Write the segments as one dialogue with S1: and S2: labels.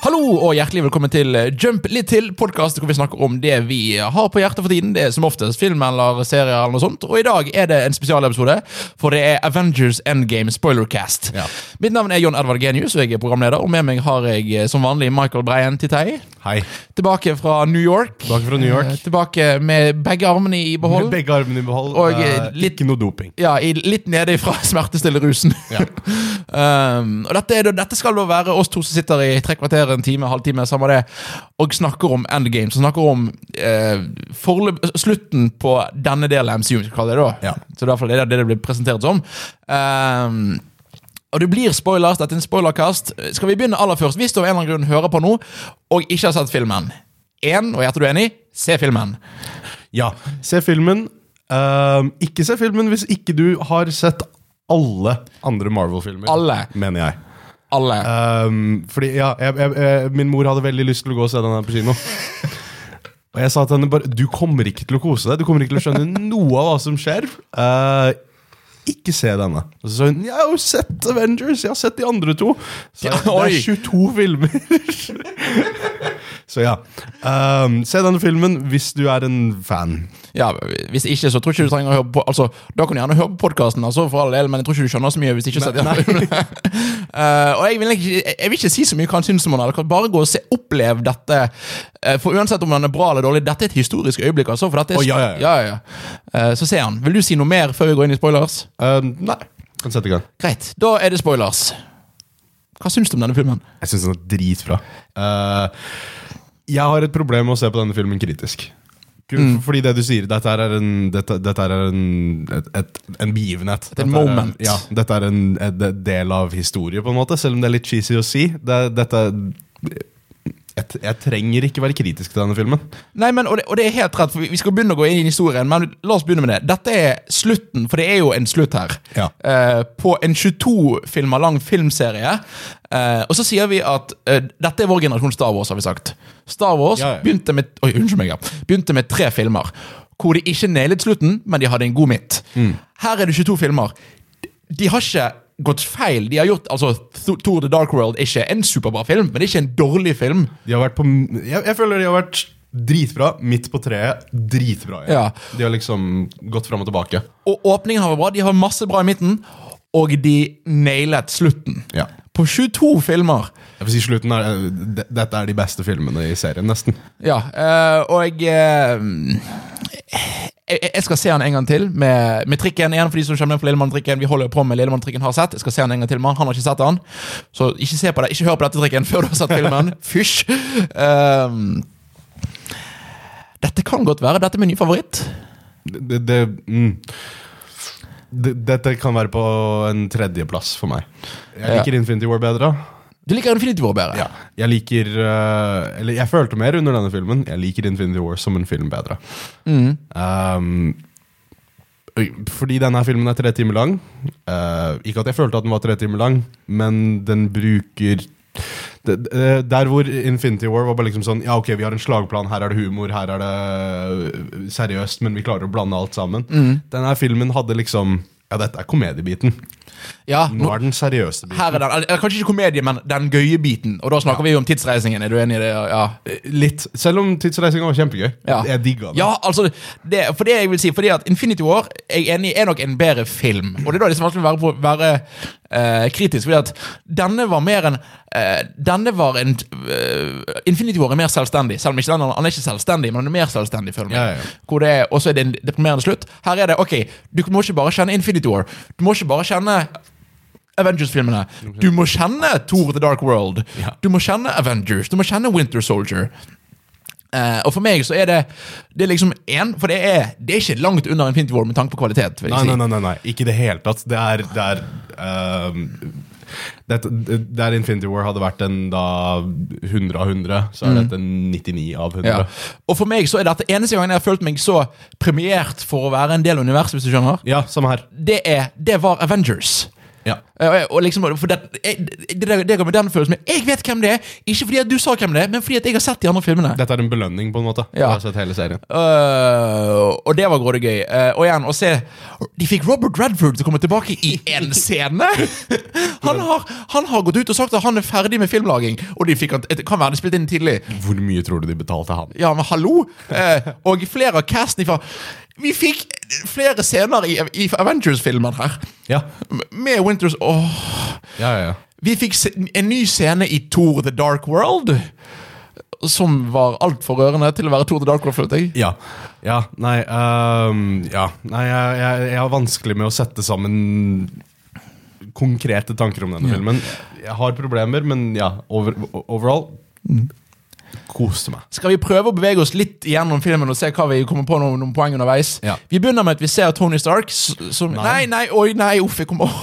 S1: Hallo og hjertelig velkommen til eh, Jump litt til, podkast hvor vi snakker om det vi har på hjertet for tiden. Det er som oftest film eller serier eller noe sånt. Og i dag er det en spesialepisode, for det er Avengers Endgame Spoilercast.
S2: Ja.
S1: Mitt navn er John Edvard Genius, og jeg er programleder. Og med meg har jeg eh, som vanlig Michael Breien Titei.
S2: Hei.
S1: Tilbake fra New York.
S2: Tilbake fra New York.
S1: Eh, Tilbake med begge armene i
S2: Med
S1: behold.
S2: begge armene i behold.
S1: Og,
S2: eh,
S1: eh, litt-
S2: Ikke noe doping.
S1: Ja, i, litt nede fra smertestillerusen.
S2: Ja.
S1: um, og dette, er, da- dette skal da være oss to som sitter i tre kvarter, en time, halvtime, samme det, og snakker om endgames. Og snakker om eh, forløp, slutten på denne delen av MCU, skal vi kalle det da.
S2: Ja.
S1: Så i hvert fall er det det det blir presentert som. Um, og det blir spoilers. Dette er en spoilerkast. Skal vi begynne aller først? Hvis du av en eller annen grunn hører på nå og ikke har sett filmen, én, og gjetter du er enig, se filmen.
S2: Ja. Se filmen. Ehm, ikke se filmen hvis ikke du har sett alle andre Marvel-filmer.
S1: Alle.
S2: Mener jeg.
S1: Alle.
S2: Ehm, fordi ja, jeg, jeg, jeg, min mor hadde veldig lyst til å gå og se den her på kino. Og jeg sa til henne bare Du kommer ikke til å kose deg. Du kommer ikke til å skjønne noe av hva som skjer. Eh, ikke se denne. Og så sa hun Jeg har jo sett Avengers. Jeg har sett de andre to. Så jeg, det
S1: Oi.
S2: er 22 filmer. så ja. Ehm, se denne filmen hvis du er en fan.
S1: Ja, Hvis ikke, så tror jeg ikke du trenger å høre på Altså, Da kan du gjerne høre på podkasten, altså, for all del, men jeg tror ikke du skjønner så mye. hvis ikke setter nei. Og jeg vil, ikke, jeg vil ikke si så mye hva han syns om han, eller kan bare gå og se, opplev dette. Eh, For uansett om den er bra eller dårlig, dette er et historisk øyeblikk. altså, for dette er...
S2: Å, ja, ja, ja.
S1: Eh, Så se han. Vil du si noe mer før vi går inn i spoilers?
S2: Ehm, nei. Kan sette i gang.
S1: Greit, da er det spoilers. Hva syns du om denne filmen?
S2: Jeg syns den er dritbra. Eh, jeg har et problem med å se på denne filmen kritisk. Kun
S1: Mm.
S2: Fordi det du sier, dette her er en, dette, dette her er en, et, et, en begivenhet.
S1: er
S2: Dette
S1: en
S2: her
S1: moment.
S2: Er, ja, dette er en, en del av historie, på en måte, selv om det er litt cheesy å si. Det, dette, jeg, jeg trenger ikke være kritisk til denne filmen.
S1: Nei, men, og det, og det er helt rett, for vi- Vi skal begynne å gå inn i historien, men la oss begynne med det. Dette er slutten, for det er jo en slutt her.
S2: Ja.
S1: Eh, på en 22 filmer lang filmserie. Eh, og så sier vi at eh, dette er vår generasjon Star Wars, har vi sagt. Star Wars
S2: Ja, ja.
S1: begynte med Oi, unnskyld meg, ja. Begynte med tre filmer. Hvor de ikke nailet slutten, men de hadde en god midt.
S2: Mm.
S1: Her er det 22 filmer. De har ikke gått feil. De har gjort, altså, Th- Thor the Dark World er ikke en superbra film, men det er ikke en dårlig film.
S2: De har vært på, jeg, jeg føler de har vært dritbra midt på treet. Dritbra. igjen.
S1: Ja.
S2: De har liksom gått fram og tilbake.
S1: Og åpningen har vært bra. De har masse bra i midten. Og de nailet slutten.
S2: Ja.
S1: På 22 filmer.
S2: Jeg vil si slutten er, de- Dette er de beste filmene i serien, nesten.
S1: Ja, eh, og jeg, eh, jeg Jeg skal se han en gang til med, med trikken. igjen for de som kjenner meg for Lillemann-trikken Vi holder jo på med Lillemann-trikken har sett. Jeg skal se han en gang til med han. Han har ikke sett han. Så ikke se på det, ikke hør på dette trikken før du har sett filmen. Fysj! Eh, dette kan godt være. Dette er min nye favoritt.
S2: det, det, mm. det, Dette kan være på en tredjeplass for meg. Jeg liker Infinity War bedre.
S1: Du liker Infinity War bedre.
S2: Jeg liker eh, Eller jeg følte mer under denne filmen. Jeg liker Infinity War som en film bedre.
S1: Mm.
S2: Um, øy, fordi denne filmen er tre timer lang. Eh, ikke at jeg følte at den var tre timer lang, men den bruker det, det- der hvor Infinity War var bare liksom sånn Ja, ok, vi har en slagplan, her er det humor, her er det seriøst, men vi klarer å blande alt sammen.
S1: Mm.
S2: Denne filmen hadde liksom Ja, dette er komediebiten.
S1: Ja, nå,
S2: Nå er den seriøse biten.
S1: Her er den, eller Kanskje ikke komedie, men den gøye biten. Og da snakker vi jo om tidsreisingen. Er du enig i det? Ja,
S2: Litt. Selv om tidsreisinga var kjempegøy.
S1: Ja.
S2: Jeg digga den.
S1: ja altså, det, for det jeg vil si, fordi at Infinity War jeg er, enig, er nok en bedre film. Og det er da det er så vanskelig å være, på, være eh, kritisk, fordi at denne var mer en eh, Denne var en eh, Infinity War er mer selvstendig, selv om ikke den, han er ikke selvstendig, men han er mer selvstendig, føler jeg.
S2: Ja, ja, ja.
S1: Hvor det er, og så er det en deprimerende slutt. Her er det ok, du må ikke bare kjenne Infinity War. Du må ikke bare kjenne Avengers-filmene. Du må kjenne Thor the Dark World.
S2: Ja.
S1: Du må kjenne Avengers. Du må kjenne Winter Soldier. Eh, og for meg så er det Det er liksom én, for det er, det er ikke langt under Infinity War med tanke på kvalitet. Vil jeg
S2: Nei, nei,
S1: si.
S2: nei, nei, nei. ikke i det hele tatt. Det er, det er ehm, dette, Der Infinity War hadde vært en da 100 av 100, så er dette
S1: Mm.
S2: 99 av 100.
S1: Ja. Og for meg så er dette eneste gangen jeg har følt meg så premiert for å være en del av universet, hvis du skjønner.
S2: Ja, samme her.
S1: Det, er, det var Avengers.
S2: Ja.
S1: Eh, Og, jeg- og liksom, for det, jeg- det, det, det ga meg den følelsen. Men Jeg vet hvem det er! Ikke fordi at du sa hvem det er, men fordi at jeg har sett de andre filmene.
S2: Dette er en belønning, på en måte.
S1: Ja.
S2: Jeg har sett hele serien.
S1: Øh, og det var grådig gøy. Eh, og igjen, å se De fikk Robert Redford til å komme tilbake i én scene! Han har, han har gått ut og sagt at han er ferdig med filmlaging, og de fikk han det kan være det spilte inn tidlig.
S2: Hvor mye tror du de betalte han?
S1: Ja, men hallo! Eh, og flere av casten ifra Vi fikk flere scener i, i Avengers-filmen her,
S2: Ja,
S1: med Winters Åh
S2: ja, ja. ja.
S1: Vi fikk se- en ny scene i Tour the Dark World. Som var altfor rørende til å være Tour the Dark World. følte jeg.
S2: Ja. ja nei, ehm, ja. nei jeg, jeg, jeg har vanskelig med å sette sammen konkrete tanker om denne filmen. Jeg har problemer, men ja, over, overall
S1: Mm.
S2: koste meg.
S1: Skal vi prøve å bevege oss litt gjennom filmen og se hva vi kommer på noen, noen poeng underveis?
S2: Ja.
S1: Vi begynner med at vi ser Tony Stark s- som Nei,
S2: Nei.
S1: nei, oi, nei, uff, jeg kommer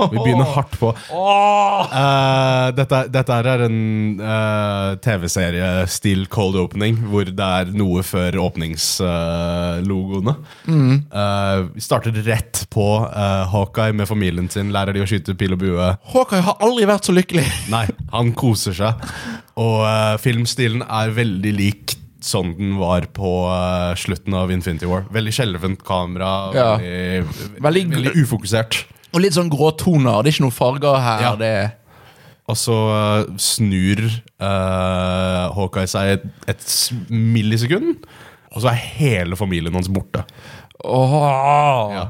S2: Vi begynner hardt på.
S1: Åh!
S2: Eh, dette, dette her er en eh, TV-serie still cold opening, hvor det er noe før åpningslogoene. Eh, vi starter rett på eh, Hawkeye med familien sin, lærer de å skyte pil og bue.
S1: Hawkeye har aldri vært så lykkelig.
S2: Nei, han koser seg. Og eh, filmstilen er veldig lik sånn den var på eh, slutten av Infinity War. Veldig skjelvent kamera,
S1: Ja.
S2: veldig,
S1: Veldig-
S2: veldig, ufokusert.
S1: Og litt sånn grå toner. Det er ikke noen farger her.
S2: Ja.
S1: Det er
S2: Og så eh, snur eh, Hawkeye seg et, et s- millisekund, og så er hele familien hans borte.
S1: Åh.
S2: Ja.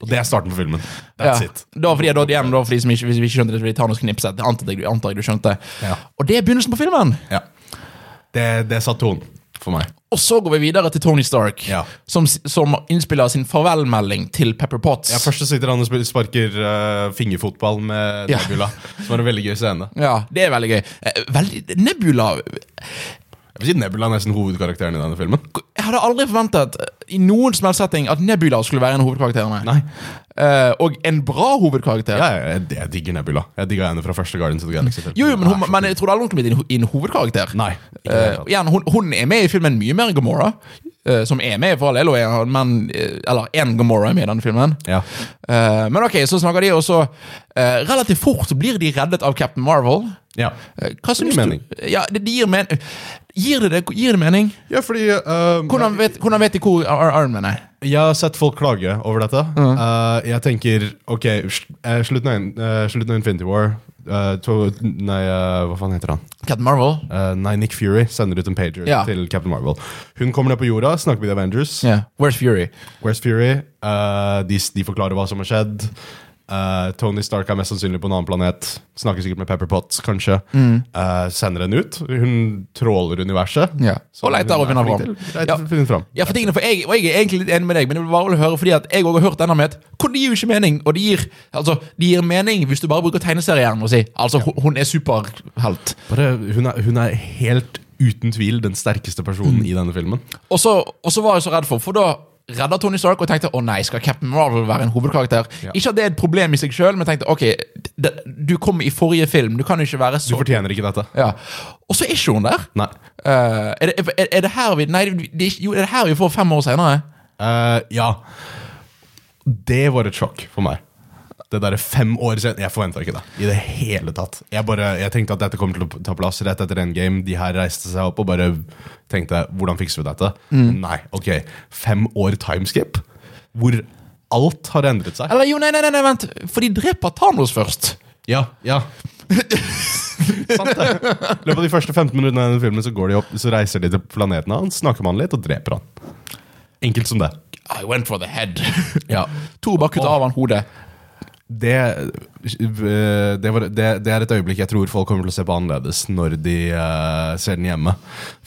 S2: Og det er starten på filmen.
S1: Ja.
S2: That's it.
S1: Da fordi, da, igjen, da, for de som ikke, hvis vi ikke skjønte det, så vil jeg ta noen knipset. Det antar jeg, antar jeg du skjønte.
S2: Ja.
S1: Og det er begynnelsen på filmen.
S2: Ja. Det, det satt tonen for meg.
S1: Og så går vi videre til Tony Stark,
S2: Ja.
S1: som, som innspiller sin farvelmelding til Pepper Potts.
S2: Ja, først så sitter han og spil- sparker eh, fingerfotball med
S1: Ja.
S2: Nebula, som er en veldig gøy scene.
S1: Ja, det er veldig gøy. Eh, Veldig, Nebula
S2: Jeg vil si Nebula er nesten hovedkarakteren i denne filmen.
S1: Jeg hadde aldri forventet eh, i noen som helst setting at Nebula skulle være en av hovedkarakterene.
S2: Nei.
S1: Eh, og en bra hovedkarakter.
S2: Ja, ja, jeg, jeg digger Nebula. Jeg digga henne fra første Guardians of the Galaxy.
S1: Jo, jo, men, hun, men jeg tror aldri hun kunne blitt en ho- en hovedkarakter.
S2: Nei. ikke i det
S1: Eh,
S2: hele tatt.
S1: igjen, hun, hun er med i filmen mye mer enn Gamora, eh, som er med for all del, og er, men, eh, eller én Gamora er med i denne filmen.
S2: Ja.
S1: Eh, men ok, så snakker de, og så eh, relativt fort så blir de reddet av Captain Marvel.
S2: Ja.
S1: Eh, Hva syns du?
S2: mening.
S1: Ja, det det gir, men gir det det? Gir det mening?
S2: ja, fordi eh,
S1: Hvordan vet, hvordan vet de hvor Ar- Iron Man er?
S2: Jeg har sett folk klage over dette. Eh, jeg tenker OK, sl- eh, slutten av in- eh, slutten av Infinity War eh, to, Nei, eh, hva faen heter han?
S1: Captain Marvel?
S2: Eh, nei, Nick Fury sender ut en pager
S1: Ja.
S2: til Captain Marvel. Hun kommer ned på jorda, snakker med The Avengers.
S1: Ja. Where's Fury?
S2: Where's Fury? Eh, de, de forklarer hva som har skjedd. Eh, Tony Stark er mest sannsynlig på en annen planet. Snakker sikkert med Pepper Potts, kanskje.
S1: Mm.
S2: Eh, sender henne ut. Hun tråler universet.
S1: Ja.
S2: Som
S1: Og leter
S2: hun er
S1: og finner
S2: flink
S1: fram.
S2: til. Leter
S1: Ja.
S2: og finner fram.
S1: Ja, for tingene, for jeg, og jeg er egentlig litt enig med deg, men jeg vil bare høre fordi at jeg også har hørt denne med at hvor det gir jo ikke mening. Og det gir, altså, det gir mening hvis du bare bruker tegneserien og sier altså, hun- hun er superhelt.
S2: Bare, hun, er, hun er helt uten tvil den sterkeste personen i denne filmen.
S1: Og så, og så var jeg så redd for, for da redda Tony Stark og tenkte å nei, skal Captain Marvel være en hovedkarakter?
S2: Ja.
S1: Ikke at det er et problem i seg sjøl, men jeg tenkte ok, d- du kom i forrige film, du kan jo ikke være
S2: Du
S1: så
S2: fortjener ikke dette.
S1: ja. Og så er ikke hun der.
S2: Nei.
S1: Eh, er, det, er, er det her vi Nei, det, er ikke- jo, er det her vi får fem år senere?
S2: Eh, ja. Det var et sjokk for meg. Det derre fem år siden Jeg forventa ikke det i det hele tatt. Jeg, bare, jeg tenkte at dette kommer til å ta plass rett etter Endgame. De her reiste seg opp og bare tenkte 'hvordan fikser vi dette?' Nei, ok. Fem år timeskip hvor alt har endret seg.
S1: Eller jo, nei, nei, nei, nei vent. For de dreper Thanos først.
S2: Ja, ja Sant det I løpet av de første 15 minuttene av denne filmen Så, går de opp, så reiser de til planeten hans Snakker med han litt og dreper han Enkelt som det
S1: I went for the head.
S2: ja.
S1: Thor bare kutter av han hodet.
S2: det, øh, det, var, det, det er et øyeblikk jeg tror folk kommer til å se på annerledes Når de øh, ser den hjemme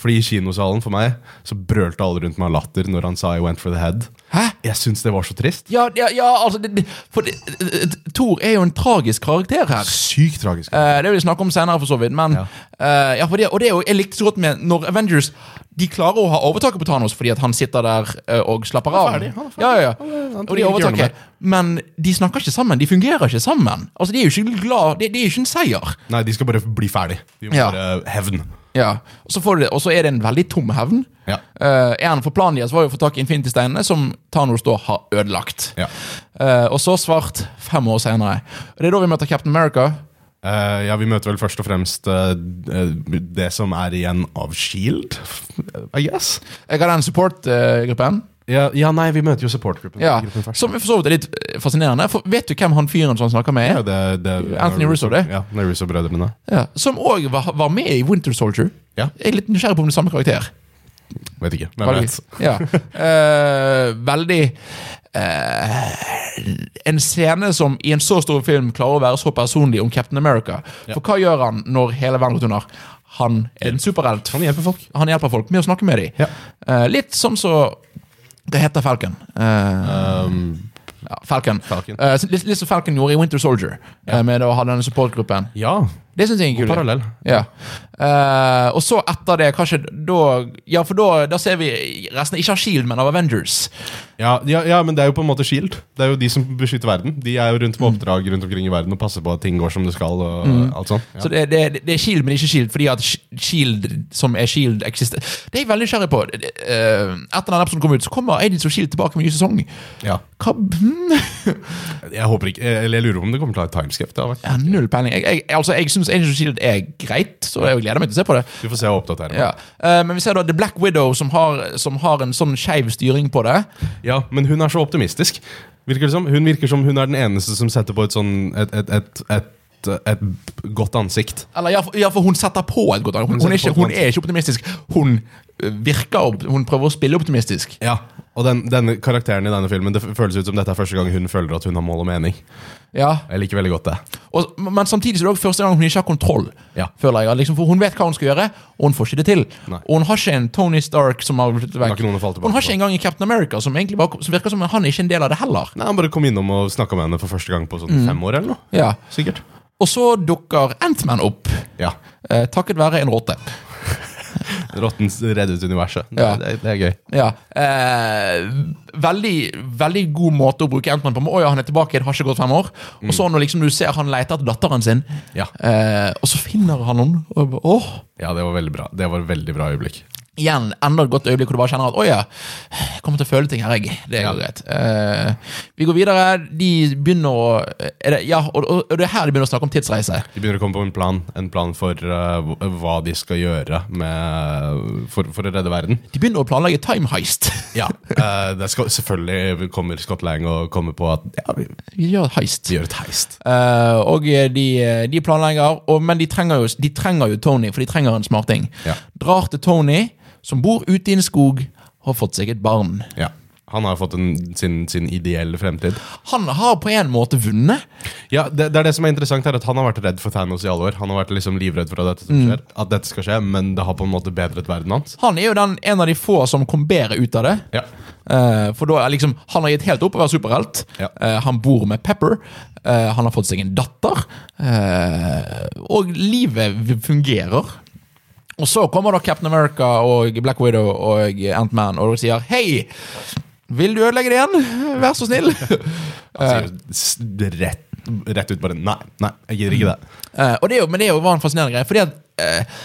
S2: Fordi i kinosalen for meg Så brølte alle rundt meg av latter Når han sa I went for the head
S1: Hæ?
S2: Jeg synes det var så trist
S1: Ja, ja, ja altså det, det, For det, det- Thor er jo en tragisk karakter her.
S2: Sykt tragisk
S1: Eh, det vil vi snakke om senere, for så vidt. Men, eh, ja, for det, og det er jo, jeg likte så godt med når Avengers De klarer å ha overtaket på Thanos fordi at han sitter der eh, og slapper av.
S2: Han er ferdig, han er ferdig.
S1: Ja, ja, ja.
S2: han
S1: og de
S2: trenger ikke gjøre noe
S1: overtaket. Men de snakker ikke sammen. De fungerer ikke sammen. Altså, De er jo ikke glad Det, det er jo ikke en seier.
S2: Nei, de skal bare bli ferdig De må
S1: Ja.
S2: bare hevn
S1: Ja, og så, får du det, og så er det en veldig tom hevn.
S2: Ja.
S1: Eh, en for planen deres var jo å få tak i Infinity-steinene, som Thanos da har ødelagt.
S2: Ja.
S1: Eh, og så svart fem år senere. Og Det er da vi møter Captain America.
S2: Eh, ja, vi møter vel først og fremst eh, eh, det som er igjen av Shield, I guess.
S1: Jeg har den support-gruppen. eh,
S2: Ja, ja, nei, vi møter jo supportgruppen.
S1: Ja,
S2: gruppen først.
S1: Som for så vidt er litt eh, fascinerende. For vet du hvem han fyren som han snakker med
S2: Ja,
S1: er?
S2: det, det,
S1: Anthony Russo, det.
S2: Ja, det er Russo-brødrene.
S1: Ja, som òg var, var med i Winter Soldier.
S2: Ja.
S1: Jeg er litt nysgjerrig på om det er samme karakter.
S2: Vet ikke. Hvem vet?
S1: Ja. Eh, veldig eh, En scene som i en så stor film klarer å være så personlig om Captain America.
S2: Ja.
S1: For hva gjør han når hele verden går under? Han er en superhelt.
S2: Han hjelper folk.
S1: Han hjelper folk med å snakke med dem.
S2: Ja.
S1: Eh, litt sånn som Hva heter Falcon? Eh,
S2: Um,
S1: ja, Falcon.
S2: Falcon.
S1: Eh, så litt, litt som Falcon gjorde i Winter Soldier, eh, med å ha denne supportgruppen.
S2: ja,
S1: Det syns jeg er kult.
S2: parallell.
S1: Ja. Eh, og så etter det, kanskje da Ja, for da, da ser vi resten ikke av Shield, men av Avengers.
S2: Ja, ja, ja, men det er jo på en måte Shield. Det er jo de som beskytter verden. De er jo rundt
S1: Mm.
S2: på oppdrag rundt omkring i verden og passer på at ting går som det skal. og alt sånt. Ja.
S1: Så det, det, det er Shield, men ikke Shield, fordi at Sh- Shield som er Shield, eksisterer. Det er jeg veldig nysgjerrig på. Eh, etter den episoden kom ut, så kommer Agents of Shield tilbake med en ny sesong.
S2: Ja.
S1: Hva? Hmm?
S2: Jeg håper ikke, eller jeg lurer på om det kommer til å ha et timeskrift. det har vært.
S1: Jeg har null peiling. Jeg, jeg, altså, jeg syns Agents of Shield er greit, så jeg gleder meg til å se på det.
S2: Vi får se og oppdatere.
S1: Ja. Eh, men vi ser da The Black Widow, som har, som har en sånn skeiv styring på det.
S2: Ja, men hun er så optimistisk. Virker det som. Hun virker som hun er den eneste som setter på et sånn et, et, et, et, et godt ansikt.
S1: Eller ja, for, ja, for hun setter på et godt annet. Hun, hun, er
S2: setter
S1: ikke,
S2: på et
S1: hun er ikke optimistisk. Hun øh, virker opp, Hun prøver å spille optimistisk.
S2: Ja, Og den, denne karakteren i denne filmen, det f- føles ut som dette er første gang hun føler at hun har mål og mening.
S1: Ja.
S2: Jeg liker veldig godt det.
S1: Og, men samtidig så er det også første gang hun ikke har kontroll.
S2: Ja.
S1: Føler jeg. Liksom, for hun vet hva hun skal gjøre, og hun får ikke det til.
S2: Nei.
S1: Og hun har ikke en Tony Stark som har blitt
S2: har
S1: vekk.
S2: ikke noen å falle tilbake
S1: Hun har ikke
S2: på.
S1: engang en Captain America, som egentlig bare, som virker som han er ikke en del av det heller.
S2: Nei, Han bare kom innom og snakka med henne for første gang på sånn fem år eller noe.
S1: Ja.
S2: Sikkert.
S1: Og så dukker Antman opp,
S2: Ja.
S1: eh, takket være en rotte.
S2: Rotten reddet universet.
S1: Ja.
S2: Det, det er gøy.
S1: Ja. Eh, veldig, veldig god måte å bruke Antman på. Men, Å ja, han er tilbake, det har ikke gått fem år. Og så når liksom du ser han leter etter datteren sin,
S2: Mm. Ja.
S1: eh, og så finner han henne. Og, jeg bare, åh,
S2: ja, det var veldig bra. Det var et veldig bra øyeblikk.
S1: igjen, enda et godt øyeblikk hvor du bare kjenner at å ja, jeg kommer til å føle ting her, jeg. Det går
S2: Ja.
S1: greit. Eh, vi går videre. De begynner å eh, er det, Ja, og, og, og det er her de begynner å snakke om tidsreise.
S2: De begynner å komme på en plan En plan for eh, hv- hva de skal gjøre med, for, for å redde verden.
S1: De begynner å planlegge time heist.
S2: Ja, eh, det skal, Selvfølgelig kommer Scott Lang og kommer på at ja, vi,
S1: Vi gjør et heist.
S2: vi gjør et heist.
S1: Eh, og de, de planlegger, og, men de trenger, jo, de trenger jo Tony, for de trenger en smarting.
S2: Ja.
S1: Drar til Tony, som bor ute i en skog, har fått seg et barn.
S2: Ja. Han har fått en, sin, sin ideelle fremtid.
S1: Han har på en måte vunnet.
S2: Ja, det, det er det som er interessant her, at Han har vært redd for Thanos i alle år. Han har vært liksom livredd for at dette, som skjer, at dette skal skje, men det har på en måte bedret verden hans.
S1: Han er jo den, en av de få som kom bedre ut av det.
S2: Ja,
S1: Eh, for da er liksom, Han har gitt helt opp å være superhelt.
S2: Ja.
S1: Eh, han bor med Pepper. Eh, han har fått seg en datter. Eh, og livet v- fungerer. Og så kommer da Captain America og Black Widow og Ant-Man og sier Hei! Vil du ødelegge det igjen? Vær så snill!
S2: Han sier s- rett, rett ut bare Nei, nei, jeg gidder ikke det.
S1: Eh, og det er jo, men det er jo var en fascinerende greie. Fordi at eh,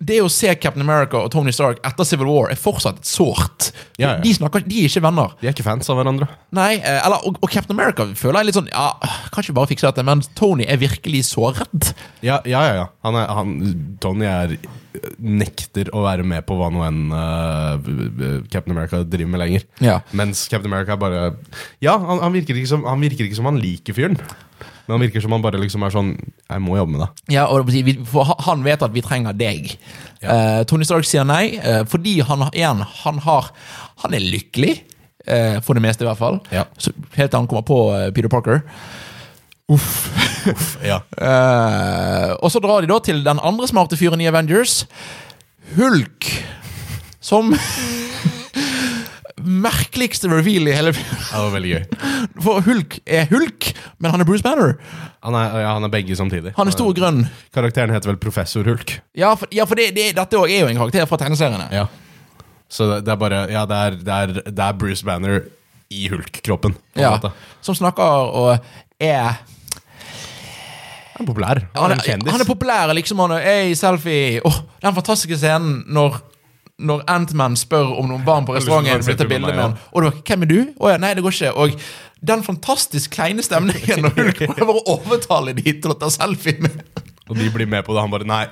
S1: Det å se Captain America og Tony Stark etter Civil War er fortsatt et sårt.
S2: Ja, ja.
S1: De, snakker, de er ikke venner.
S2: De er ikke fans av hverandre.
S1: Nei, eh, eller, og, og Captain America føler jeg litt sånn Ja, kanskje vi bare fikser dette, men Tony er virkelig såret.
S2: Ja, ja, ja. ja. Han er, han, Tony er nekter å være med på hva nå enn eh, b- b- Captain America driver med lenger.
S1: Ja.
S2: Mens Captain America bare Ja, han, han, virker ikke som, han virker ikke som han liker fyren. Men han virker som han bare liksom er sånn Jeg må jobbe med det.
S1: Ja, og det vil si, vi- for ha- Han vet at vi trenger deg. Eh, Tony Stark sier nei, eh, fordi han har- igjen, han har Han er lykkelig, eh, for det meste i hvert fall.
S2: Ja.
S1: Så, helt til han kommer på eh, Peter Parker.
S2: Ja.
S1: Eh, og så drar de da til den andre smarte fyren i Avengers, Hulk, som Merkeligste reveal i hele filmen.
S2: Det var veldig gøy.
S1: For Hulk er Hulk, men han er Bruce Banner.
S2: Han er, ja, han er begge samtidig.
S1: Han er stor og grønn.
S2: Karakteren heter vel Professor Hulk.
S1: Ja, for, ja, for det, det, dette også er jo en karakter fra tegneseriene.
S2: Ja. Så det, det er bare Ja, det er, det er, det er Bruce Banner i Hulk-kroppen. på en
S1: Ja,
S2: måte.
S1: som snakker og er
S2: Han er populær.
S1: Han er, han er populær, liksom. Han er, hey, selfie. Åh, den fantastiske scenen når når Antman spør om noen barn på
S2: Jeg har lyst til å ta en
S1: restauranten vil ta
S2: selfie med
S1: bilde med
S2: meg,
S1: han. Og du bare 'Hvem er du?' 'Å ja, nei, det går ikke.' Og den fantastisk kleine stemningen når hun prøver å overtale de til å ta selfie med
S2: Og de blir med på det. Han bare Nei,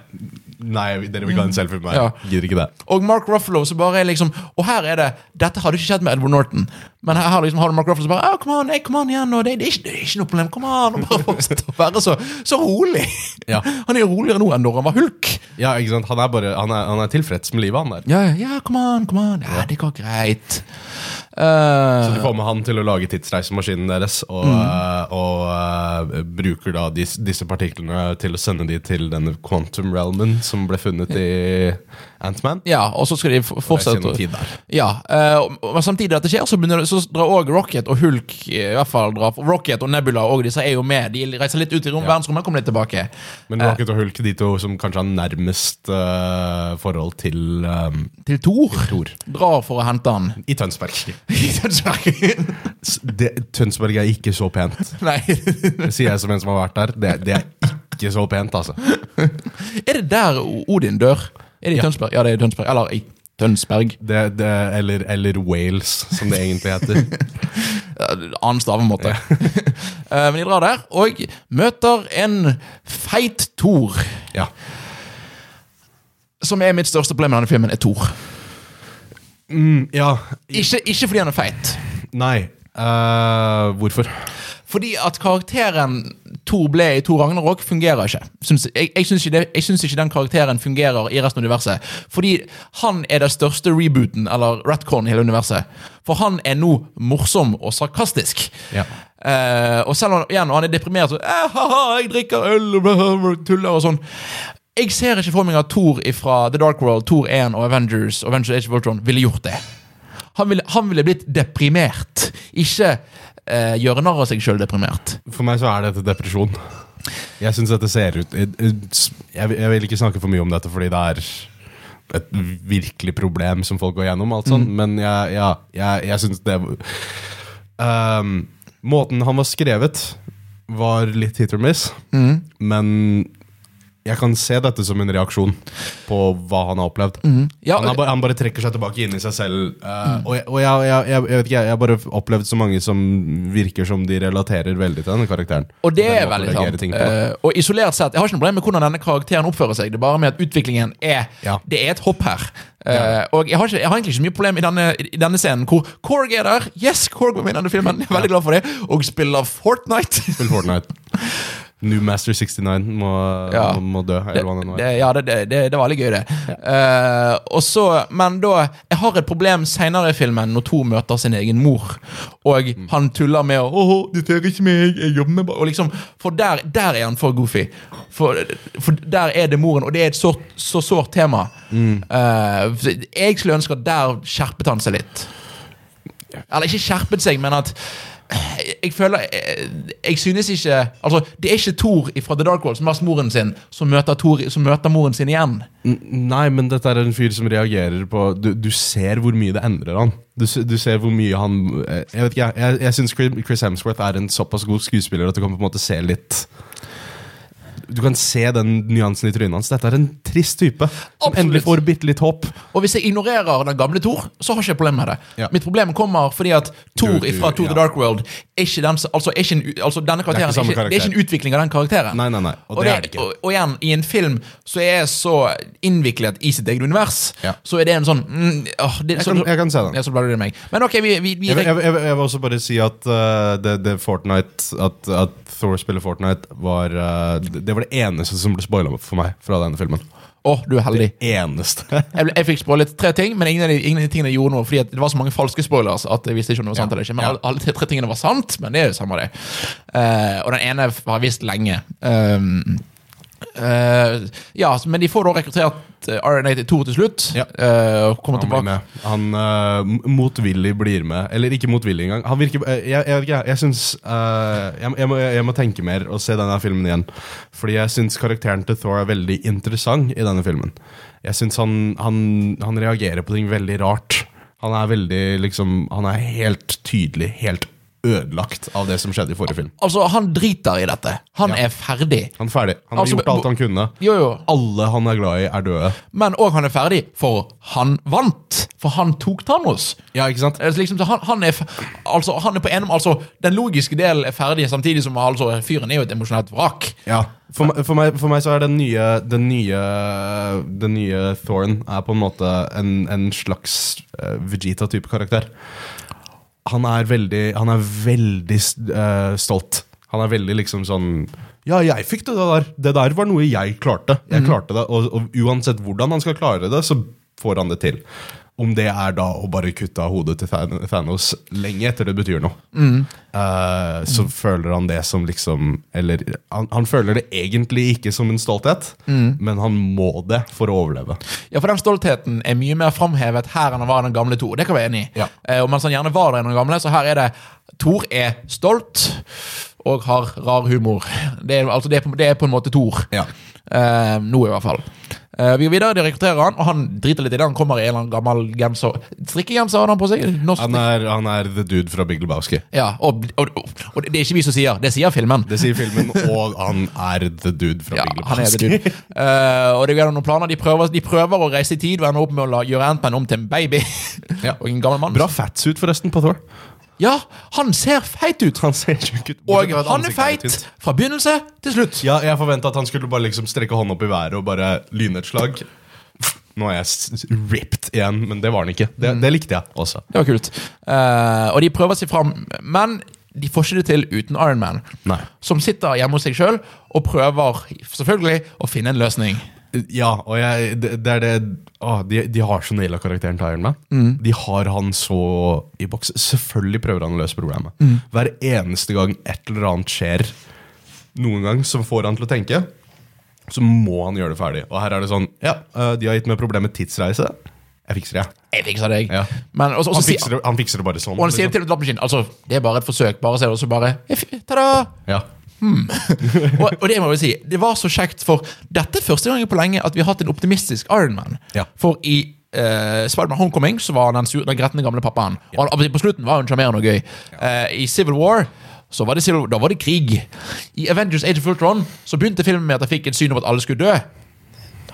S2: nei dere vil ikke ha en selfie med meg.
S1: Ja.
S2: Gidder ikke det.
S1: Og Mark Ruffalo så bare er liksom Og her er det Dette hadde ikke skjedd med Edward Norton. Men her, her liksom har du Mark Ruffalo som bare «Å, 'Kom an, hey, kom an igjen.' Og det, det, er ikke, 'Det er ikke noe problem. Kom an.' Og bare fortsetter å være så, så rolig.
S2: Ja.
S1: Han er jo roligere nå enn da han var hulk.
S2: Ja, ikke sant? Han er, bare, han er, han er tilfreds med livet, han der.
S1: Ja, ja, ja, kom an, kom an. Ja, det går greit. Eh,
S2: Så du får med han til å lage tidsreisemaskinen deres, og, eh, og eh, bruker da dis, disse partiklene til å sende de til denne quantum realmen som ble funnet i Antman.
S1: ja, og så skal de f- fortsette
S2: gjennom
S1: å-
S2: tid der.
S1: Ja, eh, og- og samtidig at det skjer, så, begynner, det- så drar òg Rocket og Hulk eh, i hvert fall drar, Rocket og Nebula og disse er jo med. De reiser litt ut i rom,
S2: Ja.
S1: verdensrommet kommer litt tilbake.
S2: Men Rocket og Hulk, de to som kanskje har nærmest eh, forhold til eh,
S1: Til Thor.
S2: Thor.
S1: Drar for å hente han.
S2: I Tønsberg.
S1: I Tønsberg.
S2: S- Det, Tønsberg er ikke så pent.
S1: Nei.
S2: Det sier jeg som en som har vært der. Det, det er ikke så pent, altså.
S1: Er det der O- Odin dør? Er det i
S2: Ja.
S1: Tønsberg? Ja, det er i Tønsberg. Eller i Tønsberg.
S2: Det, det, eller, eller Wales, som det egentlig heter.
S1: Ja, annen stavemåte. Eh, Men de drar der og møter en feit Thor.
S2: Ja.
S1: Som er mitt største problem med denne filmen, er Thor.
S2: Mm, ja.
S1: Ikke, ikke fordi han er feit.
S2: Nei. Eh, hvorfor?
S1: Fordi at karakteren Thor ble i Thor Ragnarok, fungerer ikke. Syns, jeg jeg syns ikke, det- jeg syns ikke den karakteren fungerer i resten av universet. Fordi han er den største rebooten, eller retconen, i hele universet. For han er nå morsom og sarkastisk.
S2: Ja.
S1: Eh, og selv om igjen, og han er deprimert så, eh, haha, jeg drikker øl og bla, bla, bla, tuller og sånn. Jeg ser ikke for meg at Thor fra The Dark World, Thor 1 og Avengers og Avengers Age of Ultron ville gjort det. Han ville, han ville blitt deprimert, ikke eh, gjøre narr av seg sjøl deprimert.
S2: For meg så er dette depresjon. Jeg syns dette ser ut jeg, jeg vil- jeg vil ikke snakke for mye om dette, fordi det er et virkelig problem som folk går gjennom, alt sånt,
S1: Mm.
S2: men jeg, ja, jeg, jeg syns det Ehm, Måten han var skrevet, var litt hit or miss,
S1: Mm.
S2: men jeg kan se dette som en reaksjon på hva han har opplevd.
S1: Mm. Ja, Mm.
S2: han, er bare, han bare trekker seg tilbake inn i seg selv. eh, Og, jeg, og jeg, jeg, jeg, jeg vet ikke, jeg jeg har bare opplevd så mange som virker som de relaterer veldig til denne karakteren.
S1: Og det
S2: Den
S1: er
S2: måten å
S1: veldig
S2: reagere
S1: sant.
S2: ting på, da.
S1: Eh, og isolert sett, Jeg har ikke noe problem med hvordan denne karakteren oppfører seg. Det er bare med at utviklingen er
S2: Ja.
S1: Det er et hopp her. Eh, og jeg har, ikke, jeg har egentlig ikke så mye problem i denne, i denne scenen hvor Korg er der. Yes, Korg var med i denne filmen. Jeg er veldig glad for det. Og spiller Fortnite.
S2: Spill Fortnite. New Master 69 må,
S1: Ja.
S2: må, må dø,
S1: Det,
S2: eller hva det nå er.
S1: det, ja, det, det, det, det var veldig gøy, det. Eh, og så, men da Jeg har et problem seinere i filmen, når Thor møter sin egen mor. Og han tuller med å, 'Åh, du tør ikke meg, jeg jobber med bare-» Og liksom, For der, der er han for goofy. For, for der er det moren, og det er et så, så sårt tema. Eh, så jeg skulle ønske at der skjerpet han seg litt. Eller ikke skjerpet seg, men at jeg føler jeg, jeg synes ikke Altså, det er ikke Thor fra The Dark World, som er moren sin, som møter, Thor, som møter moren sin igjen.
S2: N- Nei, men dette er en fyr som reagerer på Du, du ser hvor mye det endrer han. Du, se- du ser hvor mye han eh, Jeg vet ikke, jeg, jeg, jeg syns Chris Hemsworth er en såpass god skuespiller at du kan på en måte se litt Du kan se den nyansen i trynet hans. Dette er en trist type som
S1: Absolutt.
S2: endelig får bitte litt håp.
S1: Og hvis jeg ignorerer den gamle Thor, så har jeg ikke problem med det.
S2: Ja.
S1: Mitt problem kommer fordi at Thor
S2: Du- du-
S1: fra Thor
S2: ja.
S1: The Dark World er ikke den som- altså, er ikke en, u- altså denne karakteren
S2: Det er ikke samme
S1: det er ikke en utvikling av den karakteren.
S2: Nei, nei, nei. Og, det, er det ikke.
S1: Og, og igjen, i en film så er jeg så innviklet i sitt eget univers,
S2: Ja.
S1: så er det en sånn mm, åh, det,
S2: Jeg
S1: så,
S2: kan, jeg kan se den.
S1: ja, så ble det meg. Men ok, vi, vi, vi
S2: Jeg, jeg, jeg, jeg vil også bare si at eh, det, det Fortnite at, at Thor spiller Fortnite, var eh, det- Det var det eneste som ble spoila for meg fra denne filmen.
S1: Åh, du er heldig.
S2: Eneste.
S1: Jeg, ble, jeg fikk spoilet tre ting, men ingen av, de, ingen av de tingene gjorde noe. Fordi at det var så mange falske spoilers at jeg visste ikke om det var sant eller ikke. Men alle, alle tre, tre tingene var sant, men det er jo samme det. Eh, og den ene har jeg visst lenge. Um, eh, ja, så- men de får da rekruttert eh, RNA2 til slutt.
S2: Ja.
S1: eh, og kommer
S2: Han blir
S1: tilbake.
S2: med. Han eh, motvillig blir med. Eller ikke motvillig engang. Han virker eh, Jeg, jeg, vet ikke, jeg, jeg syns eh, jeg, jeg, må, jeg må tenke mer og se denne filmen igjen. Fordi jeg syns karakteren til Thor er veldig interessant i denne filmen. Jeg syns han, han, han reagerer på ting veldig rart. Han er veldig liksom Han er helt tydelig, helt ødelagt av det som skjedde i forrige film.
S1: Altså, han driter i dette. Han er ferdig.
S2: Han er ferdig. Han har
S1: Altså,
S2: gjort alt han kunne.
S1: Jo, jo.
S2: Alle han er glad i, er døde.
S1: Men òg han er ferdig, for han vant. For han tok Thanos.
S2: Ja, ikke sant?
S1: Altså, Liksom, så han, han, er, f- altså, han er på en altså, Den logiske delen er ferdig, samtidig som altså, fyren er jo et emosjonelt vrak.
S2: Ja. For, meg- for, meg, for meg så er den nye, den nye, den nye Thorn er på en måte en, en slags eh, Vegeta-type karakter. Han er veldig, han er veldig eh, stolt. Han er veldig liksom sånn Ja, jeg fikk det der. Det der var noe jeg klarte. Jeg klarte det, og, og uansett hvordan han skal klare det, så får han det til. Om det er da å bare kutte av hodet til Than- Thanos lenge etter det betyr noe. Eh, så føler han det som liksom Eller han, han føler det egentlig ikke som en stolthet, men han må det for å overleve.
S1: Ja, for den stoltheten er mye mer framhevet her enn den var i den gamle Thor. Det kan vi være enig i.
S2: Ja.
S1: Eh, og mens han gjerne var der i den gamle, så her er det Thor er stolt og har rar humor. Det er, altså, det er, på, det er på en måte Thor.
S2: Ja.
S1: Eh, nå, i hvert fall. Eh, vi går videre, de rekrutterer han, og han driter litt i det. Han kommer i en eller annen gammel genser. Strikkegenser hadde han på seg? Norsk
S2: Han, er, han er the dude fra Big Lebowski.
S1: Ja, og, og, og, og det er ikke vi som sier, det sier filmen.
S2: Det sier filmen, og han er the dude fra
S1: Ja,
S2: Big
S1: han er
S2: Lebowski.
S1: det, dude. Eh, og det er noen planer. De prøver, de prøver å reise i tid og ender opp med å la, gjøre Ant-Man om til en baby.
S2: Ja.
S1: og en gammel mann.
S2: Bra fatsuit, forresten, på Thor.
S1: Ja, han ser feit ut.
S2: Han ser tjukk ut.
S1: Og
S2: Bortsett fra at
S1: han er
S2: ansiktet
S1: feit
S2: tynt.
S1: fra begynnelse til slutt.
S2: Ja, jeg forventa at han skulle bare liksom strekke hånda opp i været og bare lyne et slag. Nå er jeg s- ripped igjen, men det var han ikke. Det, det likte jeg også.
S1: Det var kult. Eh, og de prøver seg fram, men de får ikke det til uten Iron Man.
S2: Nei.
S1: Som sitter hjemme hos seg sjøl og prøver selvfølgelig å finne en løsning.
S2: Ja, og jeg, det, det er det å, de, de har så naila karakteren til Iron Man.
S1: Mm.
S2: De har han så i boks. Selvfølgelig prøver han å løse problemet.
S1: Mm.
S2: Hver eneste gang et eller annet skjer, noen gang som får han til å tenke, så må han gjøre det ferdig. Og her er det sånn Ja, eh, de har gitt meg problemet tidsreise. Jeg fikser det. jeg.
S1: Jeg fikser deg.
S2: Ja.
S1: Men også, også,
S2: Han
S1: sier-
S2: fikser det, han fikser det bare sånn.
S1: og han sier
S2: liksom.
S1: til datamaskinen altså, det er bare et forsøk. Bare se det, og så bare jeg fi- Ta-da!
S2: Ja.
S1: og, og det må jeg si, det var så kjekt, for dette er første gangen på lenge at vi har hatt en optimistisk Ironman.
S2: Ja.
S1: For i uh, Spiderman Homecoming så var han den, sur, den gretne gamle pappaen. Og han, på slutten var han sjarmerende og gøy. Eh, I Civil War så var det Civil, da var det krig. I Avengers Age of Ultron så begynte filmen med at jeg fikk et syn om at alle skulle dø.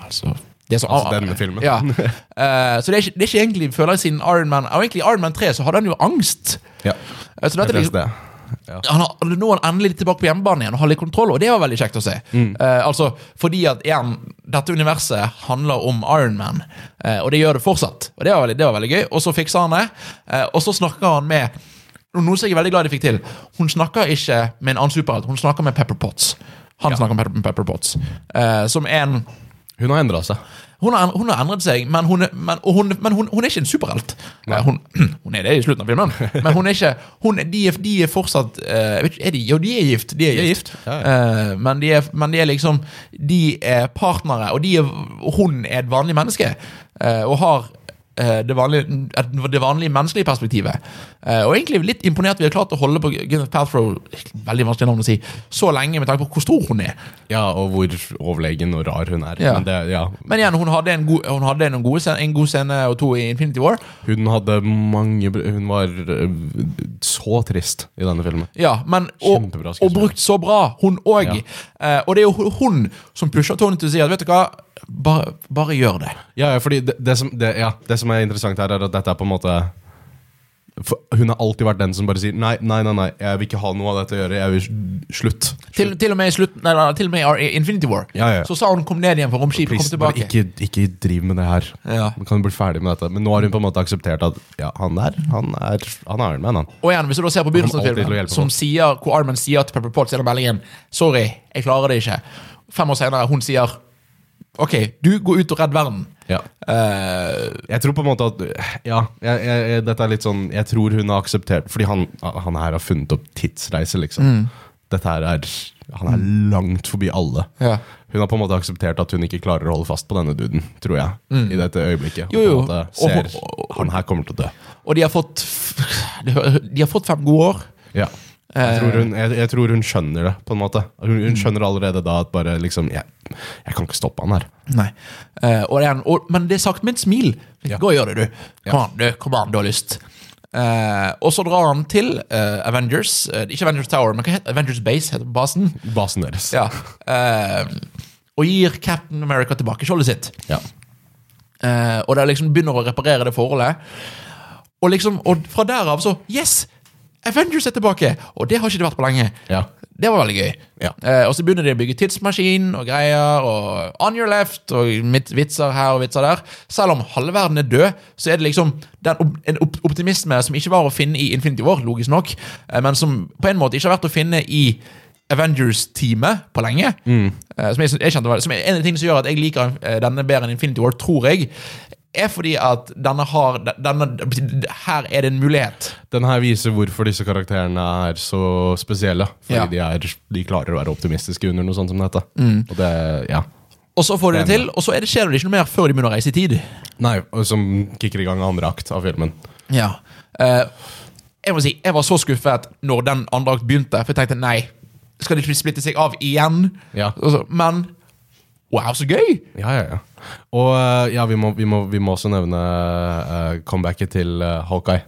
S1: Altså... Det er så,
S2: Altså, denne filmen.
S1: Ja. Eh, så det er, ikke, det er ikke egentlig, føler jeg, siden Iron Man Og egentlig i Iron Man 3 så hadde han jo angst.
S2: ja.
S1: Eh, Så dette er
S2: Jeg
S1: liksom,
S2: leste det. Ja.
S1: han har, nå er han endelig litt tilbake på hjemmebane igjen og har litt kontroll, og det var veldig kjekt å se. Eh, altså, fordi at igjen, dette universet handler om Iron Man, eh, og det gjør det fortsatt. Og det var veldig, det var veldig gøy. Og så fikser han det, eh, og så snakker han med og Noe som jeg er veldig glad de fikk til. Hun snakker ikke med en annen superhelt, hun snakker med Pepper Potts. Han snakker med Pepper, Pepper Potts, eh, som er en
S2: Hun har endra seg.
S1: hun har, hun har endret seg, men hun, er- men, og hun, men hun, hun er ikke en superhelt. Eh, Hun, hun er det i slutten av filmen, men hun er ikke hun, er- de, er, de er fortsatt eh, jeg vet ikke, er de, Jo, de er gift. De er gift.
S2: Ja,
S1: Eh, men, de er, men de er liksom De er partnere, og de er, hun er et vanlig menneske. eh, og har eh, det vanlige, et- det vanlige menneskelige perspektivet. Eh, og egentlig litt imponert vi har klart å holde på Gwyneth Paltrow Veldig vanskelig navn å si så lenge, med tanke på hvor stor hun er.
S2: Ja, og hvor overlegen og rar hun er.
S1: Ja.
S2: Men det, ja.
S1: Men igjen, hun hadde en god, hun hadde en god, scene, en god scene og to i Infinity War.
S2: Hun hadde mange br- Hun var øh, så trist i denne filmen.
S1: Ja, men og,
S2: Kjempebra skuespiller.
S1: og brukt så bra, hun òg. Eh, og det er jo hu- hun som pusher Tony til å si at vet du hva, bare, bare gjør det.
S2: Ja, ja, fordi det, det, som, det, ja, det som er interessant her, er at dette er på en måte for Hun har alltid vært den som bare sier nei, nei, nei, nei jeg vil ikke ha noe av dette å gjøre. Jeg vil slutt.
S1: Til, til og med i slutten, nei, nei, til og med i Infinity War.
S2: Ja, ja, ja.
S1: Så sa hun 'kom ned igjen fra romskipet', kom
S2: Please, bare
S1: tilbake.
S2: ikke, ikke driv med det her.
S1: Ja.
S2: Man kan bli ferdig med dette. Men nå har hun på en måte akseptert at ja, han der, han er Han er Iron Man, han.
S1: Og igjen, hvis du da ser på begynnelsen av
S2: Kommer alltid til å
S1: filmen,
S2: hjelpe
S1: som
S2: folk.
S1: sier, hvor Arman sier til Pepper Potts gjennom meldingen 'sorry, jeg klarer det ikke'. Fem år senere, hun sier 'ok, du går ut og redd verden'.
S2: Ja.
S1: Eh,
S2: Jeg tror på en måte at Ja, jeg, jeg, jeg, dette er litt sånn Jeg tror hun har akseptert Fordi han, han her har funnet opp tidsreise, liksom. Dette her er Han er langt forbi alle.
S1: Mm. Ja.
S2: Hun har på en måte akseptert at hun ikke klarer å holde fast på denne duden, tror jeg. I dette
S1: Mm.
S2: øyeblikket.
S1: Jo, jo.
S2: Og på en måte
S1: Og hun-
S2: ser Han her kommer til å dø.
S1: og de har fått De har fått fem gode år.
S2: Ja.
S1: Eh.
S2: Jeg tror, hun, jeg, jeg tror hun skjønner det, på en måte. Hun,
S1: Mm.
S2: hun skjønner allerede da at bare liksom Jeg, jeg kan ikke stoppe han her.
S1: Nei. Eh, og det er en, og, men det er sagt med et smil.
S2: Ja.
S1: Gå og gjør det, du. Kom an, du. Kom an, du har lyst. Eh, og så drar han til eh, Avengers. eh, ikke Avengers Tower, men hva heter Avengers Base heter basen.
S2: Basen deres.
S1: Ja. Eh, og gir Captain America tilbake skjoldet sitt.
S2: Ja.
S1: Eh, og de liksom begynner å reparere det forholdet. Og liksom, og fra der av så Yes! Avengers er tilbake! Og det har ikke det vært på lenge.
S2: Ja.
S1: Det var veldig gøy.
S2: Ja.
S1: Eh, og så begynner de å bygge tidsmaskin og greier. Og on your left og mitt vitser her og vitser der. Selv om halve verden er død, så er det liksom den op en op optimisme som ikke var å finne i Infinity War, logisk nok, eh, men som på en måte ikke har vært å finne i Avengers-teamet på lenge. Eh, som jeg, synes- jeg kjente var, som er En av de tingene som gjør at jeg liker eh, denne bedre enn Infinity War, tror jeg, er fordi at denne har denne, Her er det en mulighet.
S2: Den her viser hvorfor disse karakterene er så spesielle. Fordi
S1: Ja.
S2: de, er, de klarer å være optimistiske under noe sånt som dette.
S1: Mm.
S2: Og det, ja.
S1: Og så får de det
S2: Enig.
S1: til, og så er det, skjer det ikke noe mer før de begynner å reise i tid.
S2: Nei, og som kicker i gang andre akt av filmen.
S1: Ja. Eh, jeg må si, jeg var så skuffet når den andre akt begynte, for jeg tenkte nei, skal de ikke splitte seg av igjen?
S2: Ja.
S1: Og så- Men wow, så gøy!
S2: Ja, ja, ja. Og eh, ja, vi må, vi må, vi må også nevne eh, comebacket til eh, Hawkeye.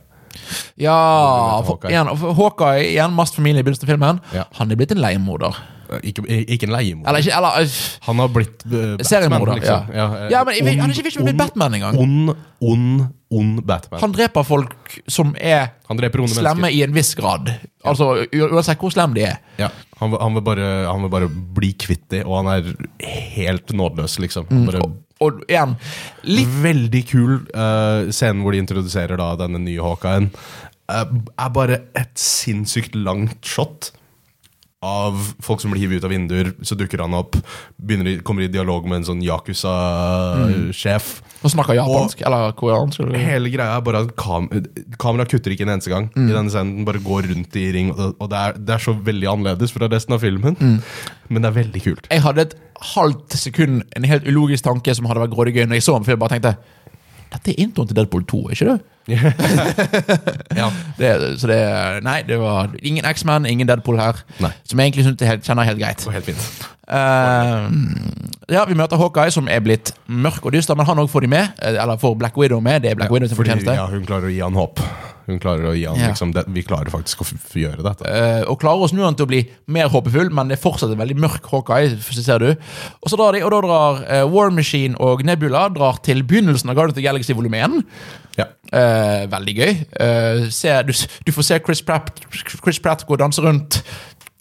S1: Ja,
S2: Hvor du vet
S1: for,
S2: Hawkeye.
S1: igjen, for Hawkeye, igjen mast familie i begynnelsen av filmen,
S2: Ja.
S1: han er blitt en leiemorder.
S2: Eh, Ikke, ikke en leiemorder.
S1: Eller ikke eller, øh,
S2: Han har blitt eh,
S1: seriemorder.
S2: Batman, liksom.
S1: Ja.
S2: eh,
S1: ja, men jeg, vet-
S2: ond-
S1: han er ikke, ikke blitt
S2: ond-
S1: Batman engang.
S2: Ond, ond, ond Batman.
S1: Han dreper folk som er
S2: Han dreper onde
S1: slemme i en viss grad. Altså, u- Uansett hvor slemme de er.
S2: Ja, han, vil- han, vil bare, han vil bare bli kvitt det, og han er helt nådeløs, liksom. Han Bare,
S1: Og igjen, litt
S2: Veldig kul eh, scenen hvor de introduserer da denne nye Hawkeyen. eh, er bare et sinnssykt langt shot av folk som blir hivet ut av vinduer. Så dukker han opp, begynner, i- kommer i dialog med en sånn Yakuza-sjef.
S1: Nå snakker jeg japansk, eller koreansk. eller-
S2: Hele greia er bare at kam kamera kutter ikke en eneste gang. I denne scenen Den bare går rundt i ring, og, og det, er, det er så veldig annerledes fra resten av filmen. Men det er veldig kult.
S1: Jeg hadde et halvt sekund en helt ulogisk tanke som hadde vært grådig gøy når jeg så den, for jeg bare tenkte dette er introen til Deadpool 2, er ikke det?
S2: Ja.
S1: det så det Nei, det var ingen X-Man, ingen Deadpool her.
S2: Nei.
S1: Som jeg egentlig synes jeg helt- kjenner helt greit.
S2: Det var helt fint.
S1: Eh, ja, Vi møter Hawkeye, som er blitt mørk og dyster, men han òg får de med. eh, Eller får Black Widow med. Det er Black Widow sin
S2: Fordi,
S1: fortjeneste.
S2: ja, hun klarer å gi han håp. Hun klarer å gi han,
S1: Ja.
S2: liksom, det, vi klarer faktisk å f f gjøre dette.
S1: Eh, og klarer å snu han til å bli mer håpefull, men det er fortsatt en veldig mørk Hawkeye. f- ser du. Og så drar de, og da drar eh, War Machine og Nebula drar til begynnelsen av Guardians of the Galaxy volum 1.
S2: Ja.
S1: Eh, veldig gøy. Eh, se, du, s- du får se Chris Pratt, Chris Pratt gå og danse rundt,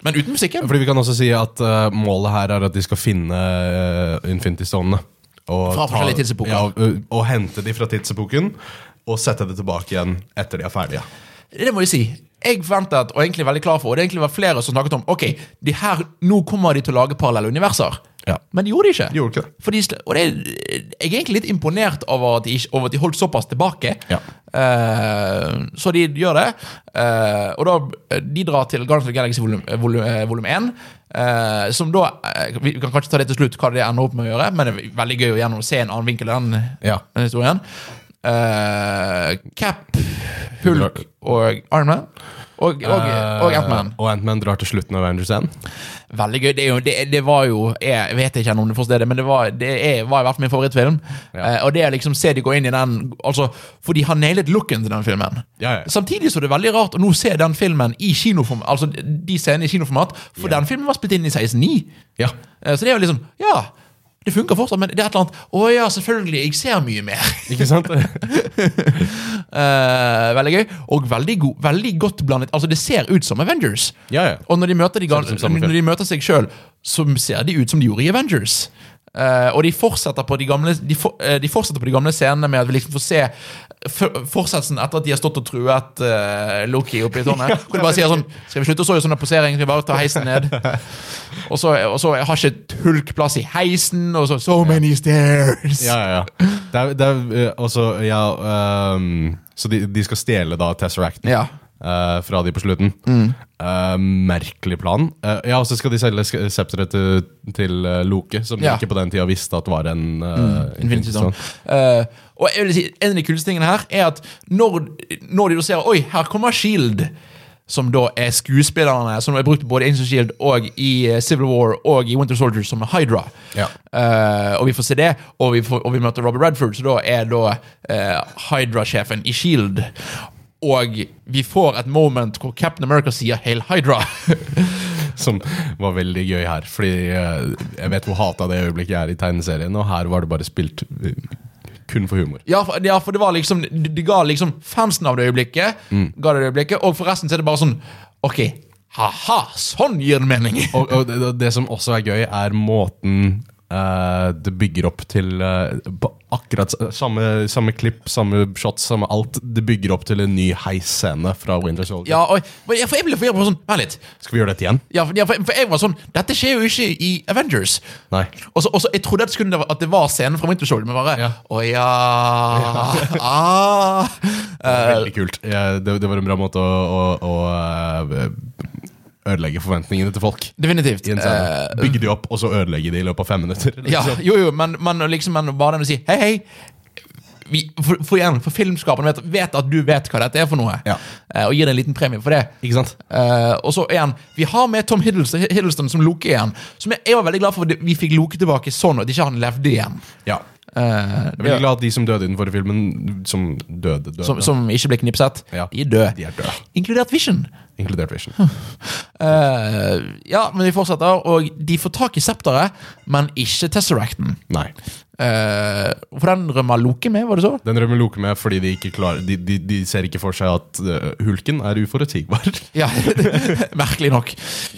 S1: men uten musikken.
S2: Fordi vi kan også si at eh, målet her er at de skal finne uh, Infinity Stone. Og
S1: Fra
S2: ta-
S1: forskjellige tidsepoker.
S2: Ja, og, og hente de fra tidsepoken, og sette det tilbake igjen etter de er ferdige.
S1: Det må jeg si. Jeg forventet, og egentlig veldig klar for, og det egentlig var flere som snakket om Ok, de her, nå kommer de til å lage parallelle universer.
S2: Ja.
S1: Men de gjorde det ikke.
S2: De gjorde ikke det.
S1: For de sl- og det, jeg er egentlig litt imponert over at de, ikke, over at de holdt såpass tilbake.
S2: Ja.
S1: Eh, så de gjør det. Eh, og da de drar til Guardians of the Galaxy volum, volum, eh, volum 1. eh, som da eh, Vi vi kan kanskje ta det til slutt, hva det ender opp med å gjøre, men det er veldig gøy å gjennom se en annen vinkel i den,
S2: Ja.
S1: den historien. Eh, Cap, Hulk og Iron Man. Og, og, og
S2: Eh,
S1: Ant-Man.
S2: og Ant-Man drar til slutten av Avengers 1.
S1: Veldig gøy. Det, er jo, det, det var jo Jeg vet ikke om det forstår det, men det var, det er, var i hvert fall min favorittfilm.
S2: Ja.
S1: Eh, og det å liksom se de gå inn i den altså, For de har nailet looken til den filmen.
S2: Ja, ja.
S1: Samtidig så er det veldig rart å nå se den filmen i kinoform, altså de scenene i kinoformat, for den filmen var spilt inn i 16.9.
S2: Ja.
S1: Eh, så det er jo liksom Ja, det funker fortsatt, men det er et eller annet Å ja, selvfølgelig. Jeg ser mye mer.
S2: Ikke sant?
S1: Eh, veldig gøy. Og veldig, god, veldig godt blandet. Altså, det ser ut som Avengers.
S2: Ja, ja.
S1: Og når de møter, de,
S2: Ser ut som samme
S1: når de møter seg sjøl, så ser de ut som de gjorde i Avengers. Eh, og de fortsetter på de gamle de, for, eh, de fortsetter på de gamle scenene med at vi liksom får se for- fortsettelsen etter at de har stått og truet eh, Loki oppe i tårnet. Hvor de bare sier sånn Skal vi slutte å så i sånne posering? Skal vi bare ta heisen ned? Og så, og så har ikke Hulk plass i heisen, og så So many stairs!
S2: Ja, ja, ja. Det er, det er, eh, også, ja ehm, så de, de skal stjele da Tesseracten
S1: Ja.
S2: eh, fra de på slutten. Eh, merkelig plan. Eh, ja, Og så skal de selge sk- septeret til, til eh, Loke, som
S1: Ja.
S2: de ikke på den tida visste at var en eh,
S1: Infinity
S2: Infinity
S1: Stone.
S2: Stone.
S1: Eh, og jeg vil si, En av de kuleste tingene her er at når, når de da ser Oi, her kommer Shield, E som da er skuespillerne som er brukt både i Angel Shield og i eh, Civil War og i Winter Soldier som Hydra.
S2: Ja.
S1: Eh, og vi får se det, og vi, får, og vi møter Robert Redford, som da er da eh, Hydra-sjefen i Shield. Og vi får et moment hvor Captain America sier 'Hail Hydra'.
S2: Som var veldig gøy her. Fordi eh, jeg vet hvor hata det øyeblikket er i tegneserien, og her var det bare spilt eh, kun for humor.
S1: ja, for, ja, for det var liksom De, de ga liksom fansen av det øyeblikket,
S2: Mm.
S1: ga det det øyeblikket, og forresten så er det bare sånn OK, ha-ha, sånn gir det mening!
S2: Og, og det, det som også er gøy, er måten eh, det bygger opp til eh, på akkurat s- samme, samme klipp, samme shot, samme alt. Det bygger opp til en ny heisscene fra Winter Soldier.
S1: Ja, og, for jeg ble forvirret på sånn Vent litt.
S2: Skal vi gjøre dette igjen?
S1: Ja, for, ja, for, for jeg var sånn Dette skjer jo ikke i Avengers.
S2: Nei.
S1: Og så, og så, jeg trodde at, det skulle, at det var scenen fra Winter Soldier, men bare
S2: Ja.
S1: Å ja, ah. Eh,
S2: Veldig kult. Eh, det, det var en bra måte å, å, å eh, ødelegge forventningene til folk.
S1: Definitivt.
S2: I en
S1: Eh,
S2: scene. Bygge de opp, og så ødelegge de i løpet av fem minutter.
S1: ja,
S2: liksom.
S1: jo, jo, men, men liksom men bare den å si hei, hei. Vi, for, for igjen, for filmskaperne vet, vet at du vet hva dette er for noe,
S2: Ja.
S1: Eh, og gir deg en liten premie for det.
S2: Ikke sant?
S1: Eh, og så igjen, Vi har med Tom Hiddleston, Hiddleston som Loke igjen. Som jeg, jeg var veldig glad for at vi fikk Loke tilbake sånn, og at ikke han levde igjen.
S2: Ja.
S1: Eh,
S2: Jeg er veldig glad at de som døde i den forrige filmen, som døde, døde.
S1: som, som ikke ble knipset.
S2: Ja.
S1: De er døde.
S2: De er døde.
S1: Inkludert Vision.
S2: Inkludert Vision.
S1: Eh, ja, men vi fortsetter, og de får tak i septeret, men ikke Tesseracten.
S2: Nei.
S1: Eh, for den rømmer Loke med, var det så?
S2: Den rømmer Loke med fordi de ikke klarer De, de, de ser ikke for seg at øh, hulken er uforutsigbar.
S1: Ja, Merkelig nok.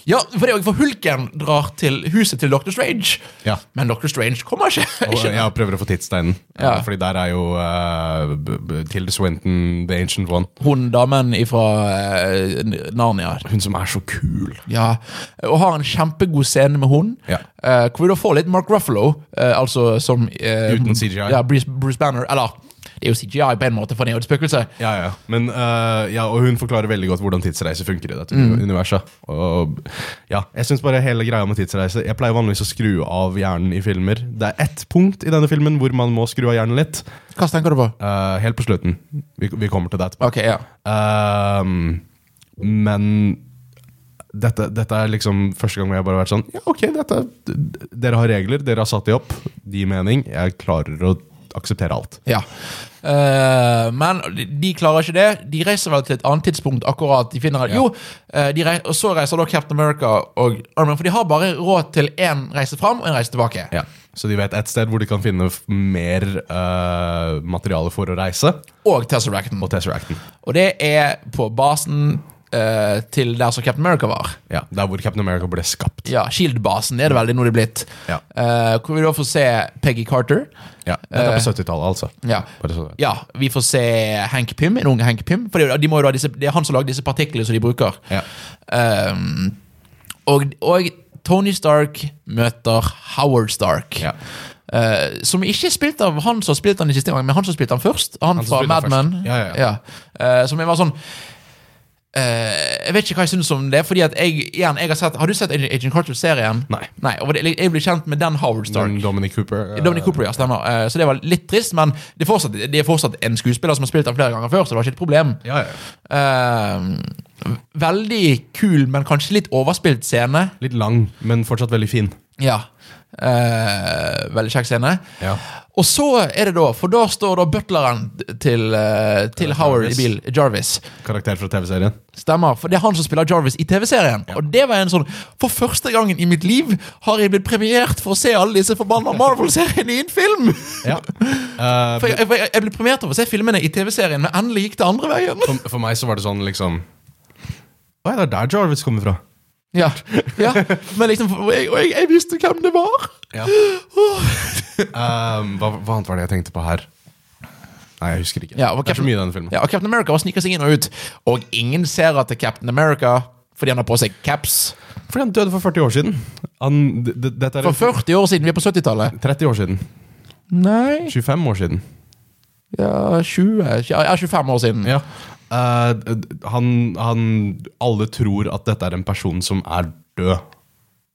S1: Ja, For det er jo for Hulken drar til huset til Dr. Strange,
S2: Ja.
S1: men Dr. Strange kommer ikke.
S2: Og
S1: ikke.
S2: jeg prøver å få tidssteinen, Eh,
S1: Ja.
S2: Fordi der er jo øh, b- b- Tilda Swinton, The Ancient One.
S1: eh, Hun damen ifra eh, Narnia.
S2: Hun som er så kul.
S1: Ja, Og har en kjempegod scene med hun.
S2: Ja.
S1: Eh, hvor vi da får litt Mark Ruffalo, eh, altså som eh,
S2: Uten CGI.
S1: Ja, Bruce, Bruce Banner. Eller, det er jo CGI på en måte, for han er jo et spøkelse.
S2: Ja, ja. Men, øh, ja, og hun forklarer veldig godt hvordan tidsreise funker i dette universet. Og, ja, jeg synes bare hele greia med tidsreise Jeg pleier vanligvis å skru av hjernen i filmer. Det er ett punkt i denne filmen hvor man må skru av hjernen litt.
S1: Hva tenker du på?
S2: Øh, helt på slutten. Vi, vi kommer til det etterpå.
S1: Ok, ja.
S2: Ehm, men dette, dette er liksom første gang hvor jeg bare har vært sånn Ja, ok, dette, d- dere har regler, dere har satt de opp. De gir mening. Jeg klarer å akseptere alt.
S1: ja. Eh, men de, de klarer ikke det. De reiser vel til et annet tidspunkt. akkurat De finner Jo, eh, de rei- Og så reiser da Captain America og Iron Man, for de har bare råd til én reise fram og én reise tilbake.
S2: Så de vet et sted hvor de kan finne f- mer eh, materiale for å reise.
S1: Og Tesseracten.
S2: Og Tesseracten.
S1: Og det er på basen eh, til der som Captain America var.
S2: Ja, der hvor Captain America ble skapt.
S1: Ja, Shield-basen er det vel det er nå det er blitt.
S2: Ja.
S1: Eh, hvor vi da får se Peggy Carter.
S2: Ja, Dette er på 70-tallet, altså.
S1: Ja.
S2: Bare så du vet.
S1: ja, Vi får se Hank Pym, en ung Hank Pym. For det, er jo- de må jo da, ha disse, det er han som lager disse partiklene som de bruker.
S2: Ja.
S1: Ehm, og, og Tony Stark møter Howard Stark.
S2: Ja.
S1: Eh, som ikke er spilt av han som spilte han i siste gang, men han som spilte han først. Han,
S2: Han som
S1: fra
S2: spilte han
S1: Mad Men.
S2: først. Ja, ja, ja.
S1: Eh, som jeg var sånn eh, Jeg vet ikke hva jeg syns om det. Fordi at jeg, igjen, jeg Har sett Har du sett Agent Carter-serien?
S2: Nei.
S1: og det, jeg ble kjent med den Howard Stark.
S2: Men Dominic Cooper. eh,
S1: Dominic Cooper, ja, stemmer. Eh, så det var litt trist, men det er fortsatt, det er fortsatt en skuespiller som har spilt den flere ganger før, så det var ikke et problem.
S2: Ja, ja.
S1: Eh, veldig kul, men kanskje litt overspilt scene.
S2: Litt lang, men fortsatt veldig fin.
S1: Ja. Eh, veldig kjekk scene.
S2: Ja.
S1: Og så er det da, for da står da butleren til, eh, til Howard i
S2: Jarvis.
S1: bil, Jarvis.
S2: Karakter fra TV-serien.
S1: Stemmer, for det er han som spiller Jarvis i TV-serien. Og det var en sånn For første gangen i mitt liv har jeg blitt premiert for å se alle disse forbanna Marvel-seriene i en film!
S2: Ja. Eh,
S1: For jeg, for jeg, jeg ble premiert over å se filmene i TV-serien, men endelig gikk det andre veien.
S2: For, for meg så var det sånn liksom Å ja, det er der Jarvis kommer fra.
S1: Ja, ja. Men liksom, og jeg, og jeg, jeg visste hvem det var!
S2: Um, hva, hva annet var det jeg tenkte på her? Nei, jeg husker ikke.
S1: Ja, og
S2: det er så
S1: Captain-
S2: mye i denne filmen.
S1: Ja, og Captain America bare sniker seg inn og ut, og ingen ser at det er Captain America fordi han har på seg caps.
S2: Fordi han døde for 40 år siden. Han, d- d- dette er
S1: For 40 år siden, vi er på 70-tallet.
S2: 30 år siden.
S1: Nei
S2: 25 år siden.
S1: Ja, 20 Ja, ja, 25 år siden.
S2: Ja. Eh, d- d- han, han Alle tror at dette er en person som er død.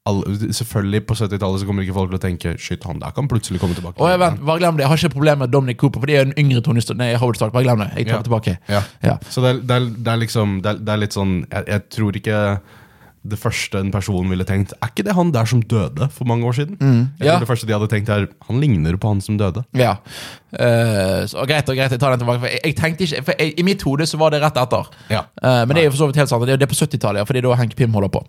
S2: Alle, selvfølgelig, på 70-tallet så kommer ikke folk til å tenke Shit, han der kan plutselig komme tilbake.
S1: Og jeg vet, bare glem det, jeg har ikke problemer med Dominic Cooper, for det er en yngre Tony Stark. Nei, Howard Stark. Bare glem det. Jeg tar
S2: Ja.
S1: det tilbake.
S2: Ja.
S1: Ja.
S2: Så det er, det, er, det er liksom Det er, det er litt sånn Jeg, jeg tror ikke det første en person ville tenkt Er ikke det han der som døde for mange år siden? Jeg
S1: Mm. ja.
S2: tror det første de hadde tenkt er Han ligner jo på han som døde.
S1: Ja. Eh, så, greit, og greit, jeg tar den tilbake. For jeg, jeg tenkte ikke, for jeg, I mitt hode så var det rett etter.
S2: Ja.
S1: Eh, men det er jo for så vidt helt sant. Det er, det er på 70-tallet, ja, for det er da Hank Pym holder på.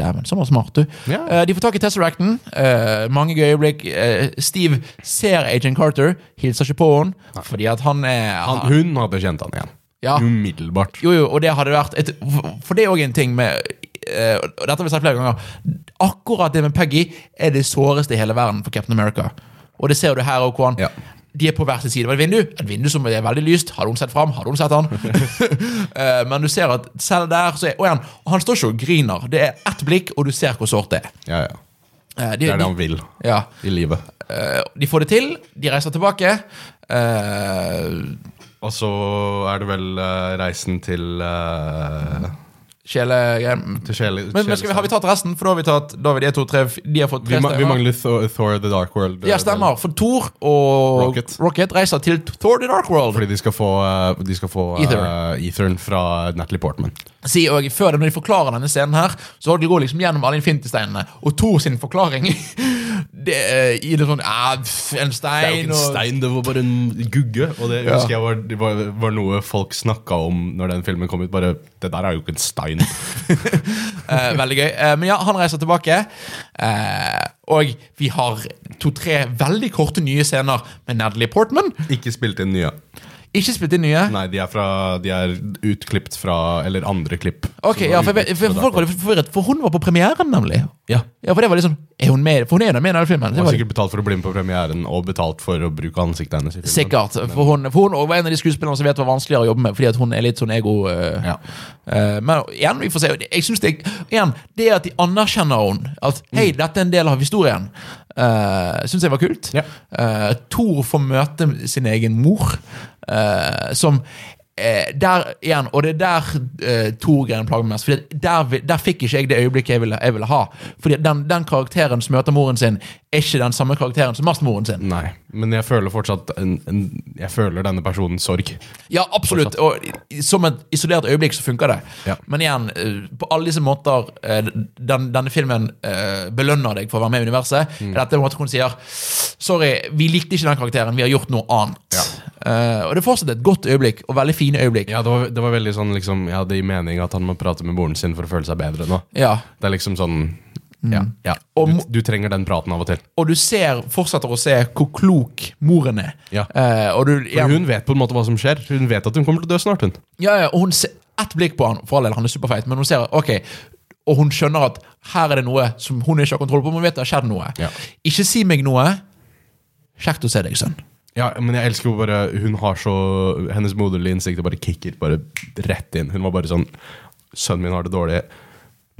S1: Dæven, så var smart, du.
S2: Mm. Ja.
S1: Eh, de får tak i Tesseracten. eh, mange gøye øyeblikk. Eh, Steve ser Agent Carter, hilser ikke på henne, fordi at han er
S2: Han, hun hadde kjent han igjen.
S1: Ja.
S2: Umiddelbart.
S1: Jo, jo, og det hadde vært et, For det er òg en ting med eh, og Dette har vi sagt flere ganger. Akkurat det med Peggy er det såreste i hele verden for Captain America. Og det ser du her òg, hvordan
S2: Ja.
S1: de er på hver sin side av et vindu. Et vindu som er veldig lyst. Hadde hun sett fram, hadde hun sett han. Eh, Men du ser at selv der så er Og igjen, han står ikke og griner. Det er ett blikk, og du ser hvor sårt det er.
S2: Ja, ja.
S1: Eh, de-
S2: Det er det han
S1: de-
S2: vil
S1: Ja.
S2: i livet.
S1: Eh, De får det til. De reiser tilbake. Eh,
S2: Og så er det vel eh, reisen til uh,
S1: Kjele...
S2: Til sjele...
S1: Men, men skal vi, har vi tatt resten? For da har vi tatt Da har vi de to, tre, f- de har fått
S2: vi,
S1: tre
S2: ma vi
S1: stemmer.
S2: mangler Thor, Thor The Dark World. eh,
S1: Ja, stemmer. For Thor og Rocket,
S2: Rocket.
S1: reiser til Thor the Dark
S2: del.
S1: World.
S2: Fordi de skal få, eh, de skal få eh,
S1: Ether.
S2: Etheren fra Natalie Portman.
S1: Si, og før de, når de forklarer denne scenen her, så går de går liksom gjennom alle infinity-steinene. Og Thor sin forklaring det, er i det sånn ah, pff, En
S2: Det er
S1: stein
S2: jo ikke en
S1: og
S2: stein, det var bare en gugge. Og det
S1: Ja.
S2: husker jeg var, det var, var noe folk snakka om når den filmen kom ut. Bare 'Det der er jo ikke en stein'.
S1: Eh, veldig gøy. Eh, men ja, han reiser tilbake. Eh, og vi har to-tre veldig korte nye scener med Natalie Portman.
S2: ikke spilt inn nye.
S1: Ikke spilt inn nye.
S2: Nei, de er, fra, de er utklippet fra Eller andre klipp.
S1: Ok,
S2: som
S1: ja,
S2: var
S1: for, jeg vet-
S2: utklippet
S1: for
S2: fra
S1: Folk var litt forvirret, for hun var på premieren, nemlig.
S2: Ja.
S1: Ja, for det var liksom Er hun med? For hun er jo med i denne filmen. Det
S2: Hun
S1: var
S2: har sikkert betalt for å bli med på premieren og betalt for å bruke ansiktet hennes. i filmen.
S1: Sikkert. For hun, for hun var en av de skuespillerne som vet var vanskeligere å jobbe med, fordi at hun er litt sånn ego... eh,
S2: Ja.
S1: eh, men igjen, vi får se. Jeg synes det, igjen, det at de anerkjenner henne, at
S2: Mm.
S1: hei, dette er en del av historien, uh, syns jeg var kult.
S2: Ja.
S1: Eh, Thor får møte sin egen mor, eh, som eh, der igjen, Og det er der uh, Thor-greien plager meg mest. Fordi at der, vi- der fikk ikke jeg det øyeblikket jeg ville, jeg ville ha. Fordi at den, den karakteren som møter moren sin, er ikke den samme karakteren som møter moren sin.
S2: Nei, men jeg føler fortsatt en, en, Jeg føler denne personens sorg.
S1: Ja, absolutt. Og i- som et isolert øyeblikk så funker det.
S2: Ja.
S1: Men igjen, eh, på alle disse måter eh, den, Denne filmen eh, belønner deg for å være med i universet.
S2: Mm.
S1: Dette er måten hun sier Sorry, vi likte ikke den karakteren. Vi har gjort noe annet. Eh, og det er fortsatt et godt øyeblikk, og veldig fine øyeblikk.
S2: Ja, det var, det var veldig sånn liksom Jeg hadde i mening at han må prate med moren sin for å føle seg bedre nå.
S1: Ja.
S2: Det er liksom sånn Ja. ja.
S1: Mm. Og
S2: Du,
S1: mo-
S2: du trenger den praten av og til.
S1: Og du ser, fortsetter å se hvor klok moren er.
S2: Ja.
S1: Eh, og du,
S2: For
S1: ja,
S2: hun vet på en måte hva som skjer. Hun vet at hun kommer til å dø snart. hun
S1: Ja, ja, og hun ser ett blikk på han, for all del, han er superfeit, men hun ser, ok, og hun skjønner at her er det noe som hun ikke har kontroll på, men hun vet det har skjedd noe.
S2: Ja.
S1: Ikke si meg noe, kjekt å se deg, sønn.
S2: Ja, men jeg elsker jo bare Hun har så Hennes moderlige instinkter bare kicker bare rett inn. Hun var bare sånn Sønnen min har det dårlig.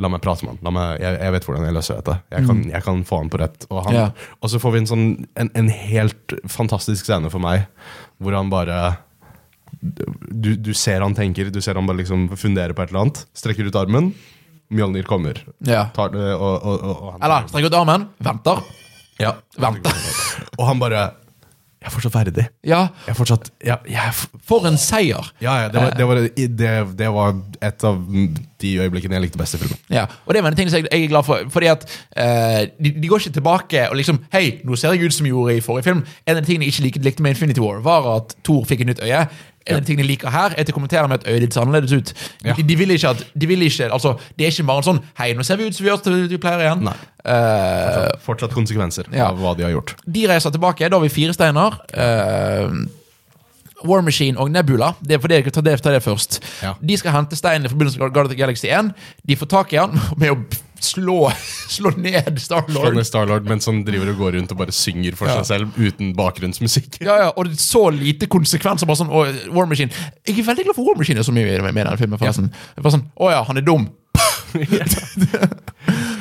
S2: La meg prate med han. La meg, jeg, jeg vet hvordan jeg løser dette. Jeg kan, jeg kan få han på rett. Og, han,
S1: Mm. Ja.
S2: og så får vi en sånn en, en helt fantastisk scene for meg, hvor han bare du, du ser han tenker, du ser han bare liksom funderer på et eller annet. Strekker ut armen. Mjølnir kommer.
S1: Ja.
S2: Tar det, og, og, og, og han
S1: Eller, strekk ut armen, venter,
S2: ja,
S1: venter.
S2: Og han bare Jeg er fortsatt verdig.
S1: Ja,
S2: Jeg er fortsatt jeg, jeg er f-
S1: for en seier.
S2: Ja, ja det,
S1: Eh.
S2: var, det, var, det, det var et av de øyeblikkene jeg likte best i filmen.
S1: Ja, og det var en ting som jeg, jeg er glad for, fordi at eh, de, de går ikke tilbake og liksom, hei, nå ser jeg ut som jeg gjorde i forrige film. En av de tingene jeg ikke likte, likte med Infinity War, var at Thor fikk et nytt øye. En av de tingene jeg liker her, er at jeg kommenterer med at øyet ditt ser annerledes ut.
S2: Ja.
S1: De, de vil ikke at, de vil ikke, altså, det er ikke bare en sånn, hei, nå ser vi ut som vi gjør som vi pleier igjen.
S2: Nei.
S1: Eh,
S2: Fortsatt konsekvenser
S1: ja.
S2: av hva de har gjort.
S1: de reiser tilbake, da har vi fire steiner. eh, War Machine og Nebula. Det er for det, ta, det, ta det først.
S2: Ja.
S1: De skal hente steinen i forbindelse med Guardians of the Galaxy 1. De får tak i han med å slå, slå ned
S2: Han er
S1: Star-Lord.
S2: Starlord mens han driver og går rundt og bare synger for
S1: Ja.
S2: seg selv uten bakgrunnsmusikk.
S1: Ja, ja, og det er så lite konsekvenser. Bare sånn, og War Machine Jeg er veldig glad for War Machine er så mye med med i den filmen. forresten Det er Bare sånn, Å ja, han er dum.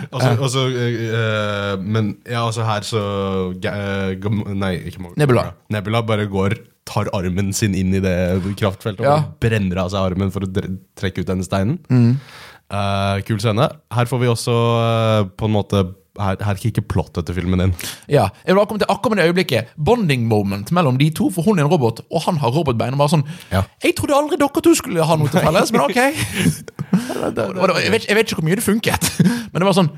S2: Og så- og så, eh, eh, men ja, altså her så Ga- eh, Gam- Nei, ikke Mo-
S1: Nebula.
S2: Nebula bare går, tar armen sin inn i det kraftfeltet
S1: Ja. Mm.
S2: og bare brenner av seg armen for å dre- trekke ut denne steinen. Eh, kul scene. Her får vi også eh, på en måte her, her kicker plottet til filmen inn.
S1: Ja, jeg vil komme til akkurat med det øyeblikket Bonding moment mellom de to, for hun er en robot, og han har robotbein. Og bare sånn
S2: Ja.
S1: Jeg trodde aldri dere to skulle ha noe til felles, men ok. Og det var- jeg, vet, jeg vet ikke hvor mye det funket, men det var sånn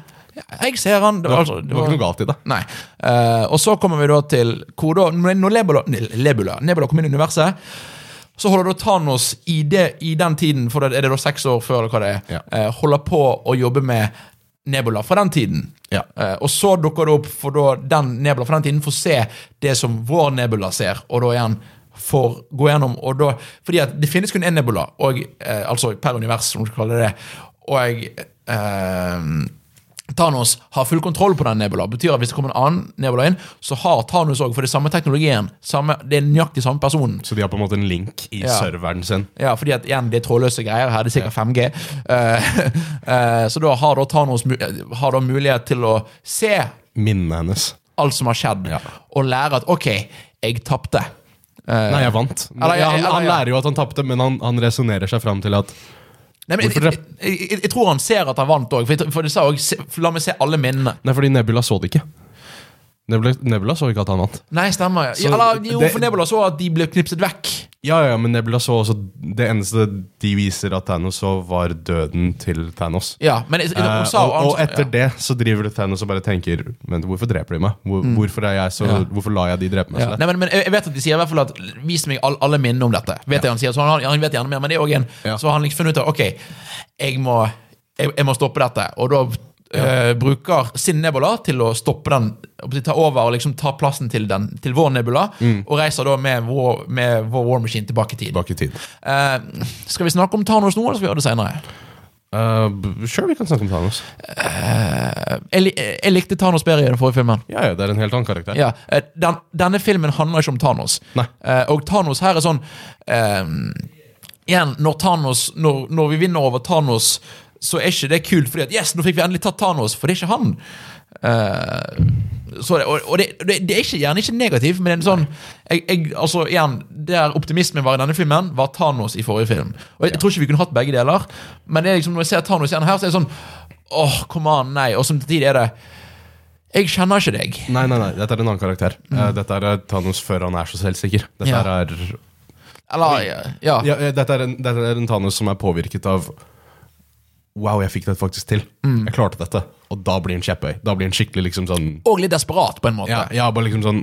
S1: Jeg ser han. Det var, altså,
S2: Det var ikke noe galt i det.
S1: Nei. Eh, og så kommer vi da til hvor da Når når Nebula, Nebula, Nebula kom inn i universet, så holder da Thanos i, det, i den tiden, for da er det da seks år før, eller hva det er,
S2: Ja.
S1: eh, holder på å jobbe med Nebula fra den tiden.
S2: Ja.
S1: Eh, og så dukker det opp, for da den Nebula fra den tiden får se det som vår Nebula ser, og da igjen får gå gjennom og da, Fordi at det finnes kun én Nebula, og, eh, altså per univers, som du kaller det. Og eh, Thanos har full kontroll på den nebula. Betyr at hvis det kommer en annen nebula inn, så har Thanos òg for det er samme teknologien. Samme, det er nøyaktig samme personen.
S2: Så de har på en måte en link i
S1: Ja.
S2: serveren sin.
S1: Ja, fordi at igjen, det er trådløse greier her. Det er sikkert 5G. Eh, eh, så da har da Thanos mu- eh, har da mulighet til å se
S2: Minnene hennes.
S1: alt som har skjedd,
S2: Ja.
S1: og lære at OK, jeg tapte. Eh,
S2: Nei, jeg vant.
S1: Eller, ja,
S2: han,
S1: eller,
S2: han
S1: ja.
S2: lærer jo at han tapte, men han, han resonnerer seg fram til at
S1: nei, men,
S2: hvorfor
S1: jeg, jeg, jeg, jeg tror han ser at han vant òg, for, jeg- for det sa også, se- la meg se alle minnene.
S2: Nei, fordi Nebula så det ikke. Nebula, Nebula så ikke at han vant.
S1: Nei, stemmer.
S2: Så
S1: Eller, jo,
S2: det-
S1: for Nebula så at de ble knipset vekk.
S2: Ja, ja, men Nebula så også Det eneste de viser at Thanos så, var døden til Thanos.
S1: Ja, men jeg, jeg,
S2: Eh,
S1: hun sa
S2: og, og
S1: han-
S2: etter
S1: ja.
S2: det så driver det Thanos og bare tenker Men hvorfor dreper de meg? Hvor, hvorfor, er jeg så,
S1: Mm. Ja.
S2: hvorfor lar jeg de drepe meg
S1: Ja.
S2: så lett?
S1: Nei, men, men jeg jeg vet at de sier i hvert fall at Vis meg all, alle minnene om dette. Vet jeg han sier, så han, han vet gjerne mer, men det er også en
S2: Ja.
S1: Så har han liksom funnet ut at ok, jeg må, jeg, jeg må stoppe dette. Og da eh, bruker sin nebula til å stoppe den, og ta over og liksom ta plassen til, den, til vår nebula, og reiser da med vår, med vår war machine tilbake i tid.
S2: Bak i tid.
S1: Eh, skal vi snakke om Thanos nå, eller skal vi gjøre det seinere?
S2: Eh, b- sure, vi kan snakke om Thanos.
S1: Eh, jeg, li- jeg likte Thanos bedre i den forrige filmen.
S2: Ja, ja, det er en helt annen karakter.
S1: Ja, eh, den, denne filmen handler ikke om Thanos.
S2: Nei.
S1: Eh, og Thanos her er sånn eh, Igjen, når, Thanos, når, når vi vinner over Thanos, så er ikke det kult, fordi at Yes, nå fikk vi endelig tatt Thanos, for det er ikke han. Eh, så det, og og det, det, det er ikke, gjerne ikke negativt, men det er en sånn jeg, jeg, altså igjen, Der optimismen var i denne filmen, var Thanos i forrige film. Og Jeg, jeg tror ikke vi kunne hatt begge deler, men det er liksom, når jeg ser Thanos igjen her, så er det sånn Åh, kom an, nei. Og samtidig er det Jeg kjenner ikke deg.
S2: Nei, nei, nei, dette er en annen karakter. Eh, dette er Thanos før han er så selvsikker. Dette,
S1: Mm. Ja.
S2: her er,
S1: Eller ja. ja.
S2: ja, eh, dette, er, en, dette er en Thanos som er påvirket av Wow, jeg fikk det faktisk til. Jeg klarte dette. Og da blir han kjepphøy. Da blir han skikkelig liksom sånn
S1: Og litt desperat, på en måte.
S2: ja, ja, bare liksom sånn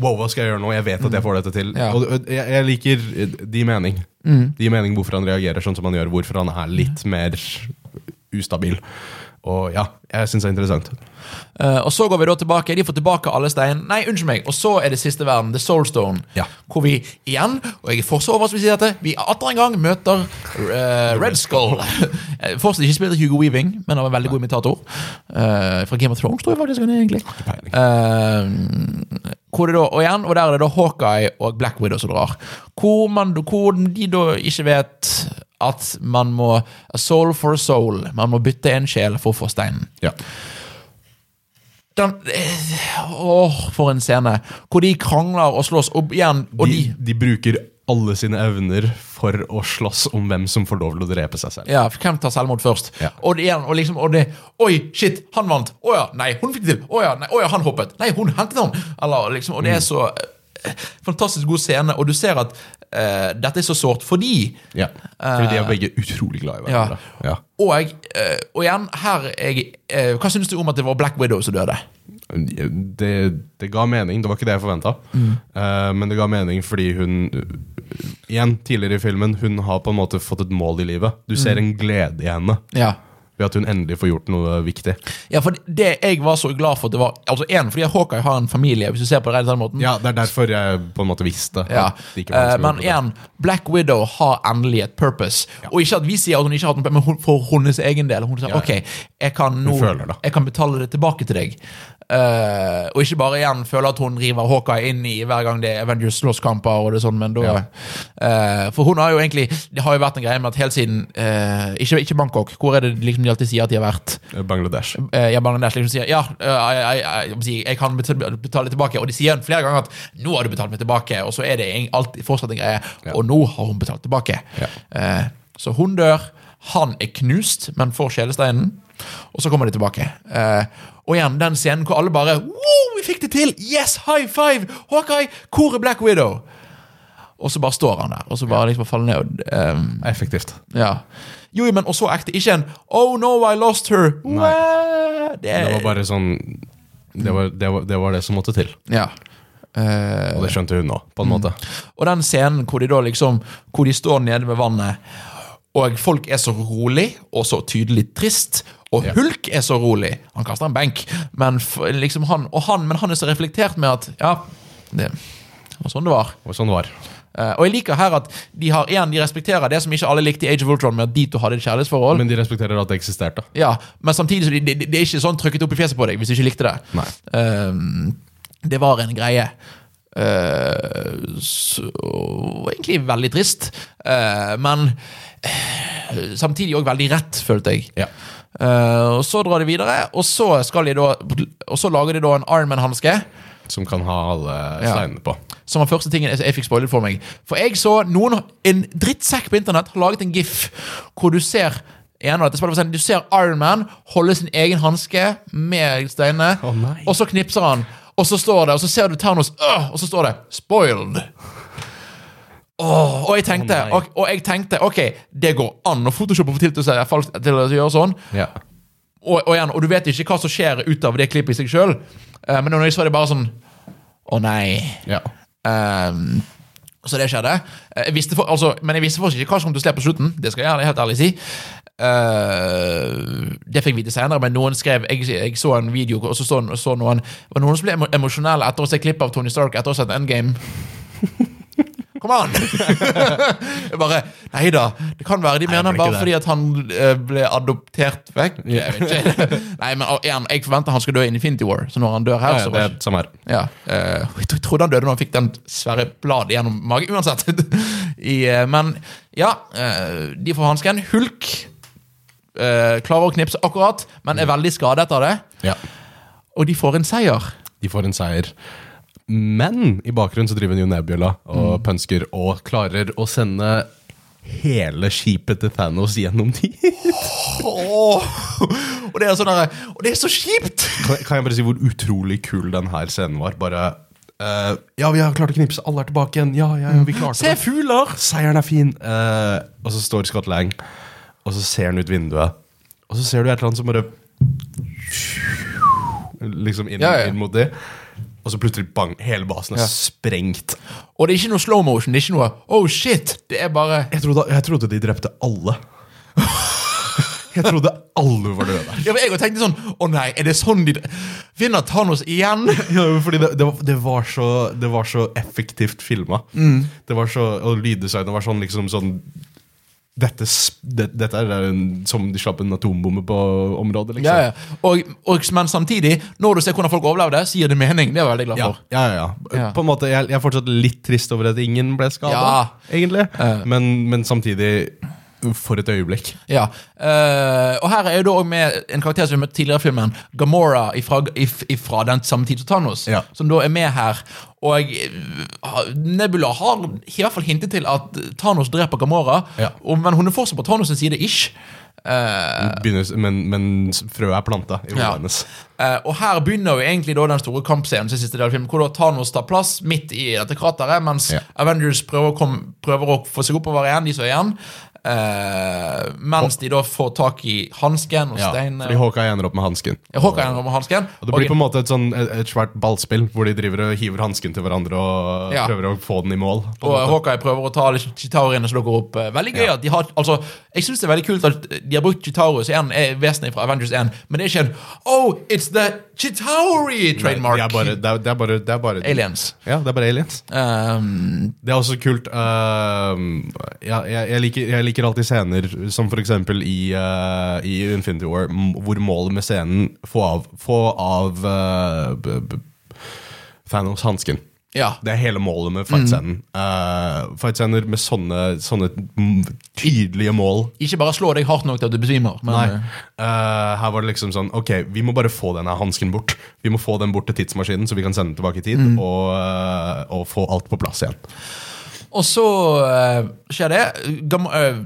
S2: Wow, hva skal jeg gjøre nå? Jeg vet at jeg får dette til.
S1: Ja.
S2: Og og jeg, jeg liker eh, de mening. De mening hvorfor han reagerer sånn som han gjør, hvorfor han er litt mer ustabil. Og ja, jeg syns det er interessant.
S1: Eh, og så går vi da tilbake. De får tilbake alle stein. Nei, unnskyld meg. Og så er det siste verden, The Soulstone.
S2: Ja.
S1: Hvor vi igjen, og jeg er fortsatt overrasket over å si dette, vi atter en gang møter eh, Red Skull. Eh, fortsatt ikke spilt av Hugo Weaving, men av en veldig god imitator. Eh, fra Game of Thrones, tror jeg faktisk han er, egentlig.
S2: peiling.
S1: Eh, hvor det da, og igjen, og der er det da Hawkeye og Black Widow som drar. Hvor, man, hvor de da ikke vet at man må a Soul for a soul. Man må bytte en sjel for å få steinen.
S2: Ja.
S1: den, eh, Åh, for en scene. Hvor de krangler og slåss opp igjen. Og
S2: de,
S1: de,
S2: de bruker alle sine evner for å slåss om hvem som får lov til å drepe seg selv.
S1: ja, Hvem tar selvmord først?
S2: Ja.
S1: Og det igjen, og liksom og det, Oi, shit, han vant! Å ja, nei, hun fikk det til! Å ja, nei, å ja, han hoppet! Nei, hun hentet han! Eller, liksom, og det er så eh, fantastisk god scene, og du ser at eh, dette er så sårt fordi
S2: Ja. Fordi de er begge utrolig glad i
S1: ja.
S2: hverandre. Ja.
S1: Og, jeg, eh, og igjen, her er jeg, eh, Hva syns du om at det var Black Widow som døde?
S2: Det, det ga mening. Det var ikke det jeg forventa,
S1: Mm.
S2: men det ga mening fordi hun Igjen, tidligere i filmen, hun har på en måte fått et mål i livet. Du
S1: Mm.
S2: ser en glede i henne
S1: Ja
S2: ved at hun endelig får gjort noe viktig.
S1: Ja, for det jeg var så glad for at det var Altså, en, fordi Hawkeye har en familie, hvis du ser på det rett på den måten.
S2: Ja, Det er derfor jeg på en måte visste. at
S1: Ja.
S2: det ikke var noen
S1: Eh,
S2: som
S1: men
S2: gjorde det.
S1: igjen, Black Widow har endelig et purpose. Og ikke at vi sier at hun ikke har hatt noe, men hun, for hennes egen del. Hun sier
S2: Ja.
S1: ok, jeg kan, nå,
S2: føler det.
S1: jeg kan betale det tilbake til deg. Eh, og ikke bare igjen føle at hun river Hawkeye inn i hver gang det er Avengers slåsskamper. og det er sånn, men da... eh, for hun har jo egentlig Det har jo vært en greie med at helt siden eh, ikke, ikke Bangkok. Hvor er det liksom de alltid sier at de har vært?
S2: Bangladesh.
S1: Eh, ja, Bangladesh liksom sier ja, eh, jeg, jeg, jeg, jeg, jeg kan betale betale tilbake. Og de sier flere ganger at 'nå har du betalt meg tilbake', og så er det en- alltid fortsatt en greie.
S2: Ja.
S1: Og nå har hun betalt tilbake.
S2: Ja.
S1: Eh, så hun dør. Han er knust, men får sjelesteinen. Og så kommer de tilbake. Eh, og igjen, den scenen hvor alle bare Wow, vi fikk det til! Yes, high five! Hawkeye, hvor er Black Widow? Og så bare står han der, og så bare liksom faller ned. og, eh,
S2: Effektivt.
S1: ja. Jo, jo, men og så ekte. Ikke en Oh no, I lost her! Wæ- Det
S2: Det var
S1: er
S2: bare sånn Det var det, var, det, var det som måtte til.
S1: Ja. Eh, Mm.
S2: Og det skjønte hun nå, på en måte.
S1: Og den scenen hvor de da liksom Hvor de står nede ved vannet, og folk er så rolig og så tydelig trist. Og
S2: Ja.
S1: Hulk er så rolig. Han kaster en benk, men f liksom han, og han, men han er så reflektert med at Ja, det var sånn det var.
S2: Og sånn var.
S1: Eh, og jeg liker her at de har igjen, de respekterer det som ikke alle likte i Age of Ultron, med at de to hadde et kjærlighetsforhold.
S2: Men de respekterer at det eksisterte.
S1: Ja, men samtidig så det, det, det er ikke sånn trykket opp i fjeset på deg hvis du ikke likte det.
S2: Nei.
S1: Ehm, det var en greie. Eh, så Egentlig veldig trist, Eh, men eh, samtidig òg veldig rett, følte jeg.
S2: Ja.
S1: Eh, og Så drar de videre, og så, skal de da, og så lager de da en Ironman-hanske.
S2: Som kan ha alle
S1: Ja.
S2: steinene på.
S1: Som var første tingen jeg, jeg fikk spoilet for meg. For jeg så noen, en drittsekk på internett har laget en gif hvor du ser igjen, og dette spiller for sent, du ser Iron Man holde sin egen hanske med steinene,
S2: Å, nei.
S1: og så knipser han, og så står det, og så ser du Thanos, øh, og så står det 'spoiled'. Åh, og jeg tenkte,
S2: Å, nei.
S1: og, og jeg tenkte Ok, det går an å photoshoppe for til til å, se- falskt- til å gjøre sånn.
S2: Ja.
S1: Og, og igjen, og du vet ikke hva som skjer ut av det klippet i seg sjøl, men når jeg så det bare sånn Å nei.
S2: ja.
S1: Ehm, så det skjedde. Eh, Jeg visste for, altså, men jeg visste fortsatt ikke hva som kom til å skje på slutten. Det skal jeg gjerne helt ærlig si. Eh, det fikk vi vite senere, men noen skrev Jeg, jeg så en video, og så, så, så noen Det var noen som ble emo- emosjonelle etter å se klipp av Tony Stark etter å ha sett Endgame. Kom an! Jeg bare Nei da, det kan være de
S2: Nei,
S1: mener
S2: det blir
S1: bare
S2: ikke
S1: fordi
S2: det.
S1: at han eh, ble adoptert vekk. Jeg vet ikke. Nei, men og igjen, jeg forventer han skal dø i Infinity War, så når han dør her,
S2: ja, ja
S1: så
S2: det
S1: var
S2: er samme her.
S1: ja. eh, jeg tro- trodde han døde når han fikk den svære bladet gjennom magen, uansett. I, eh, men ja, eh, de får hansken. Hulk eh, klarer å knipse akkurat, men
S2: Mm.
S1: er veldig skadet av det.
S2: Ja.
S1: Og de får en seier.
S2: De får en seier. Men i bakgrunnen så driver hun jo Nebula og pønsker og klarer å sende hele skipet til Thanos gjennom de.
S1: Åh, og, det er sånn der, og det er så kjipt!
S2: Kan kan jeg bare si hvor utrolig kul den her scenen var? Bare eh, Ja, vi har klart å knipse, alle er tilbake igjen. Ja, ja, ja vi klarte
S1: Se
S2: det.
S1: fugler!
S2: Seieren er fin. Eh, og så står Scott Lang, og så ser han ut vinduet. Og så ser du et eller annet som bare Liksom inn,
S1: Ja, ja.
S2: inn mot de. Og så plutselig bang, hele basen er
S1: Ja.
S2: sprengt.
S1: Og det er ikke noe slow motion. Det er ikke noe oh shit. Det er bare
S2: Jeg trodde, jeg trodde de drepte alle. Jeg trodde alle var døde der.
S1: ja, men Jeg også tenkte sånn Å nei, er det sånn de Vinner Thanos igjen?
S2: Ja, men fordi det, det, var, det, var så, det var så effektivt filma.
S1: Mm.
S2: Det var så, og lyddesignet var sånn liksom sånn dette, sp- det, dette er en, som de slapp en atombombe på området, liksom.
S1: Ja, ja. Og, og, men samtidig, når du ser hvordan folk overlevde, så gir det mening. Det er jeg veldig glad
S2: Ja,
S1: for.
S2: ja, ja, ja.
S1: Ja.
S2: På en måte, jeg, jeg er fortsatt litt trist over at ingen ble skada,
S1: Ja.
S2: egentlig.
S1: Eh.
S2: Men, men samtidig For et øyeblikk.
S1: Ja. Eh, og her er jo da også med en karakter som vi møtte tidligere i filmen, Gamora ifra, if, ifra den samme tid som Thanos,
S2: Ja.
S1: som da er med her. Og eh, Nebula har i hvert fall hintet til at Thanos dreper Gamora,
S2: Ja.
S1: og, men hun er fortsatt på Thanos' side, ish. Eh,
S2: Begynner, men, men frøet er planta i hodet
S1: Ja.
S2: hennes.
S1: Eh, og her begynner jo egentlig da den store kampscenen til siste del av filmen, hvor da Thanos tar plass midt i dette krateret, mens
S2: Ja.
S1: Avengers prøver å, komme, prøver å få seg oppover igjen, de som er igjen. Eh, mens de da får tak i hansken og
S2: Ja,
S1: steinene.
S2: fordi Hawkeye ender opp med hansken.
S1: Jeg håker han kommer hansken.
S2: Og det blir på en måte et, sånn, et, et svært ballspill hvor de driver og hiver hansken til hverandre og
S1: Ja.
S2: prøver å få den i mål. på en
S1: Og
S2: måte.
S1: Hawkeye prøver å ta alle chitauriene som dukker opp. Eh, Veldig gøy at de har Altså, jeg syns det er veldig kult at de har brukt chitauru, som igjen er vesenet fra Avengers 1, men det er ikke en Oh, it's the
S2: Nei,
S1: chitauri-trademark!
S2: Det er bare, det er, det er bare, det er bare
S1: Aliens.
S2: Ja, det er bare aliens.
S1: Um,
S2: Det er også kult ehm, ja, jeg, jeg, liker, jeg liker alltid scener som for eksempel i, eh, i Infinity War, m- hvor målet med scenen Få av, få av eh, b, b, Thanos hansken.
S1: ja.
S2: Det er hele målet med fightscenen.
S1: Mm.
S2: Eh, fightscener med sånne, sånne mm, tydelige mål
S1: Ikke bare slå deg hardt nok til at du besvimer. Men,
S2: Nei. Eh, her var det liksom sånn Ok, vi må bare få denne hansken bort. Vi må få den bort til tidsmaskinen, så vi kan sende den tilbake i tid
S1: Mm.
S2: og, eh, og få alt på plass igjen.
S1: Og så
S2: Mm.
S1: eh, skjer det. Gam eh,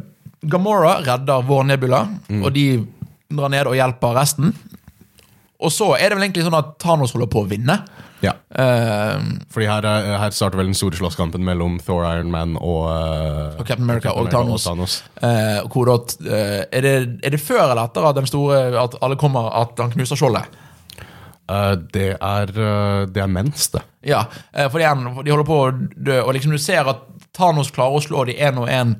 S1: Gamora redder vår Nebula, og de drar ned og hjelper resten. Og så er det vel egentlig sånn at Thanos holder på å vinne.
S2: Ja.
S1: Eh,
S2: Fordi her, er- her starter vel den store slåsskampen mellom Thor, Iron Man og, eh,
S1: Og Captain America og Thanos.
S2: Thanos.
S1: Eh, og hvor da, eh, er, det, er det før eller etter at den store At alle kommer at han knuser skjoldet?
S2: Eh, det, er, eh, det er mens, det.
S1: Ja, eh, fordi han, de holder på å dø, og liksom du ser at Thanos klarer å slå de én og én.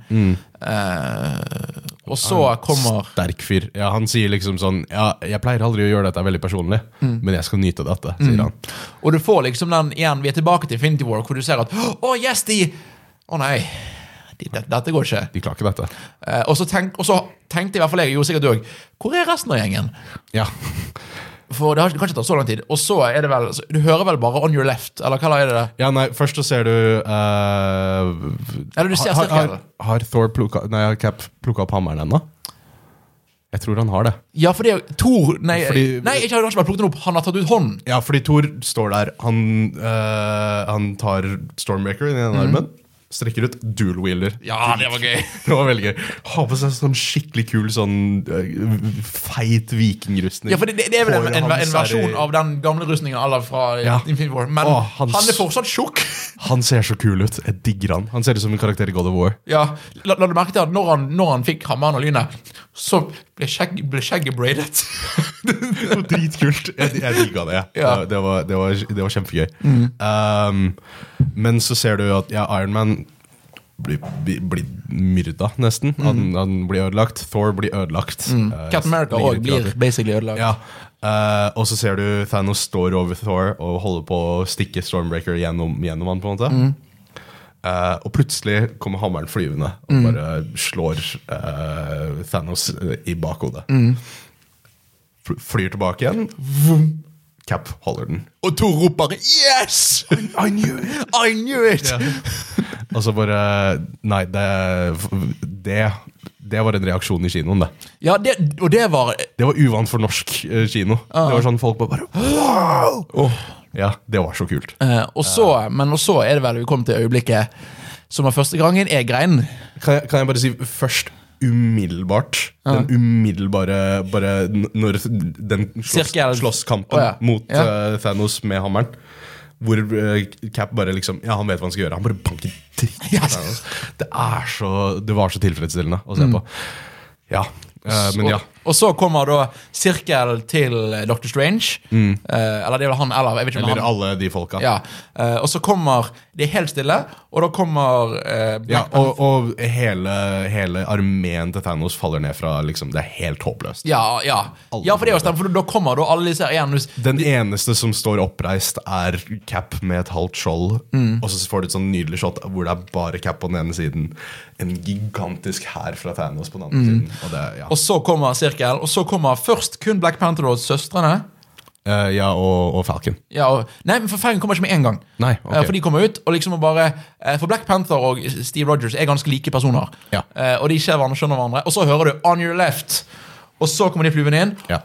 S1: Eh, og så kommer
S2: Sterk fyr. Ja, han sier liksom sånn Ja, jeg pleier aldri å gjøre dette veldig personlig,
S1: Mm.
S2: men jeg skal nyte dette, sier han.
S1: Og du får liksom den igjen Vi er tilbake til Infinity War, hvor du ser at Å, yes, de Å nei, de, dette, dette går ikke.
S2: De klarer ikke dette.
S1: Eh, og, så tenk, og så tenkte i hvert fall jeg, og gjorde sikkert du òg, hvor er resten av gjengen?
S2: Ja.
S1: For det har ikke- kanskje tatt så lang tid. Og så er det vel Du hører vel bare On Your Left, eller hva er det? det?
S2: ja, nei, først så ser du eh,
S1: Eller du ser
S2: har, har,
S1: cirka-
S2: har Thor plukka Nei, har Cap plukka opp hammeren ennå? Jeg tror han har det.
S1: Ja, for det er jo Thor Nei,
S2: Fordi-
S1: nei ikke, han har ikke bare plukket den opp, han har tatt ut hånden.
S2: Ja, fordi Thor står der. Han, eh, han tar Stormbreaker i den ene armen, strekker ut dual-wheeler.
S1: Ja, det var gøy.
S2: Det var veldig gøy. Ha på seg sånn skikkelig kul, sånn eh, feit vikingrustning.
S1: Ja, for det, det det er vel en,
S2: Håret
S1: en, en,
S2: hans er i-
S1: versjon av den gamle rustningen alle fra eh,
S2: Ja.
S1: Infinity War, men
S2: Å, hans-
S1: han er fortsatt tjukk.
S2: Han ser så kul ut. Jeg digger han. Han ser ut som en karakter i God of War.
S1: Ja, la, la du merke til at når han, når han fikk hammeren og lynet, så ble, skjegg, ble skjegget braidet.
S2: Det var dritkult. Jeg, jeg digga det.
S1: Ja.
S2: Det, var, det, var, det var kjempegøy. Um, men så ser du at ja, Ironman blir, blir, blir myrda, nesten. Han, han blir ødelagt. Thor blir ødelagt. Eh,
S1: Mm. Captain America
S2: ligger
S1: òg
S2: litt
S1: blir
S2: gratis.
S1: basically ødelagt.
S2: ja. Eh, og så ser du Thanos står over Thor og holder på å stikke Stormbreaker gjennom, gjennom han på en måte.
S1: Mm.
S2: Eh, og plutselig kommer hammeren flyvende og
S1: Mm.
S2: bare slår eh, Thanos eh, i bakhodet.
S1: Mm.
S2: Fl- Flyr tilbake igjen. Vroom. Cap holder den.
S1: Og Thor roper 'Yes! I knew it!' I knew it!
S2: Og så bare Nei, det, det Det var en reaksjon i kinoen, det.
S1: Ja, det, og det var
S2: Det var uvant for norsk eh, kino. Det var sånn folk bare Wow! Ja, det var så kult.
S1: eh, Og så, men og så er det vel vi kom til øyeblikket som var første gangen jeg grein.
S2: Kan jeg, kan jeg bare si først umiddelbart Den umiddelbare bare n- Når den slåss,
S1: Sirkel.
S2: slåsskampen
S1: Å, ja.
S2: mot
S1: Ja.
S2: eh, Thanos med hammeren hvor eh, Cap bare liksom Ja, han vet hva han skal gjøre. Han bare banker dritt i
S1: Ja.
S2: Thanos. Det er så Det var så tilfredsstillende å se på. Ja. eh, men
S1: Mm.
S2: ja.
S1: Og, og så kommer da sirkel til eh, Dr. Strange. Eh, eller det er vel han, eller jeg vet ikke om
S2: Mm. Eller
S1: han.
S2: alle de folka.
S1: Ja. Eh, og så kommer Det er helt stille, og da kommer eh, Black
S2: Ja, og, og hele, hele armeen til Thanos faller ned fra liksom, Det er helt håpløst.
S1: Ja, ja.
S2: Alle
S1: ja, for det er jo stemt, for da kommer da alle disse her igjen. hvis-
S2: Den eneste som står oppreist, er Cap med et halvt skjold. Og så får du et sånn nydelig shot hvor det er bare Cap på den ene siden. En gigantisk hær fra Thanos på den andre siden. Og det, ja.
S1: Og så kommer sirkel, og så kommer først kun Black Panther og søstrene.
S2: Eh, ja, og, og Falcon.
S1: Ja, og, nei, men for Falcon kommer ikke med en gang.
S2: Nei, ok.
S1: Eh, For de kommer ut, og liksom bare eh, For Black Panther og Steve Rogers er ganske like personer.
S2: Ja.
S1: Eh, Og de ser hverandre, skjønner hverandre. Og så hører du 'On your left', og så kommer de flyvende inn.
S2: Ja.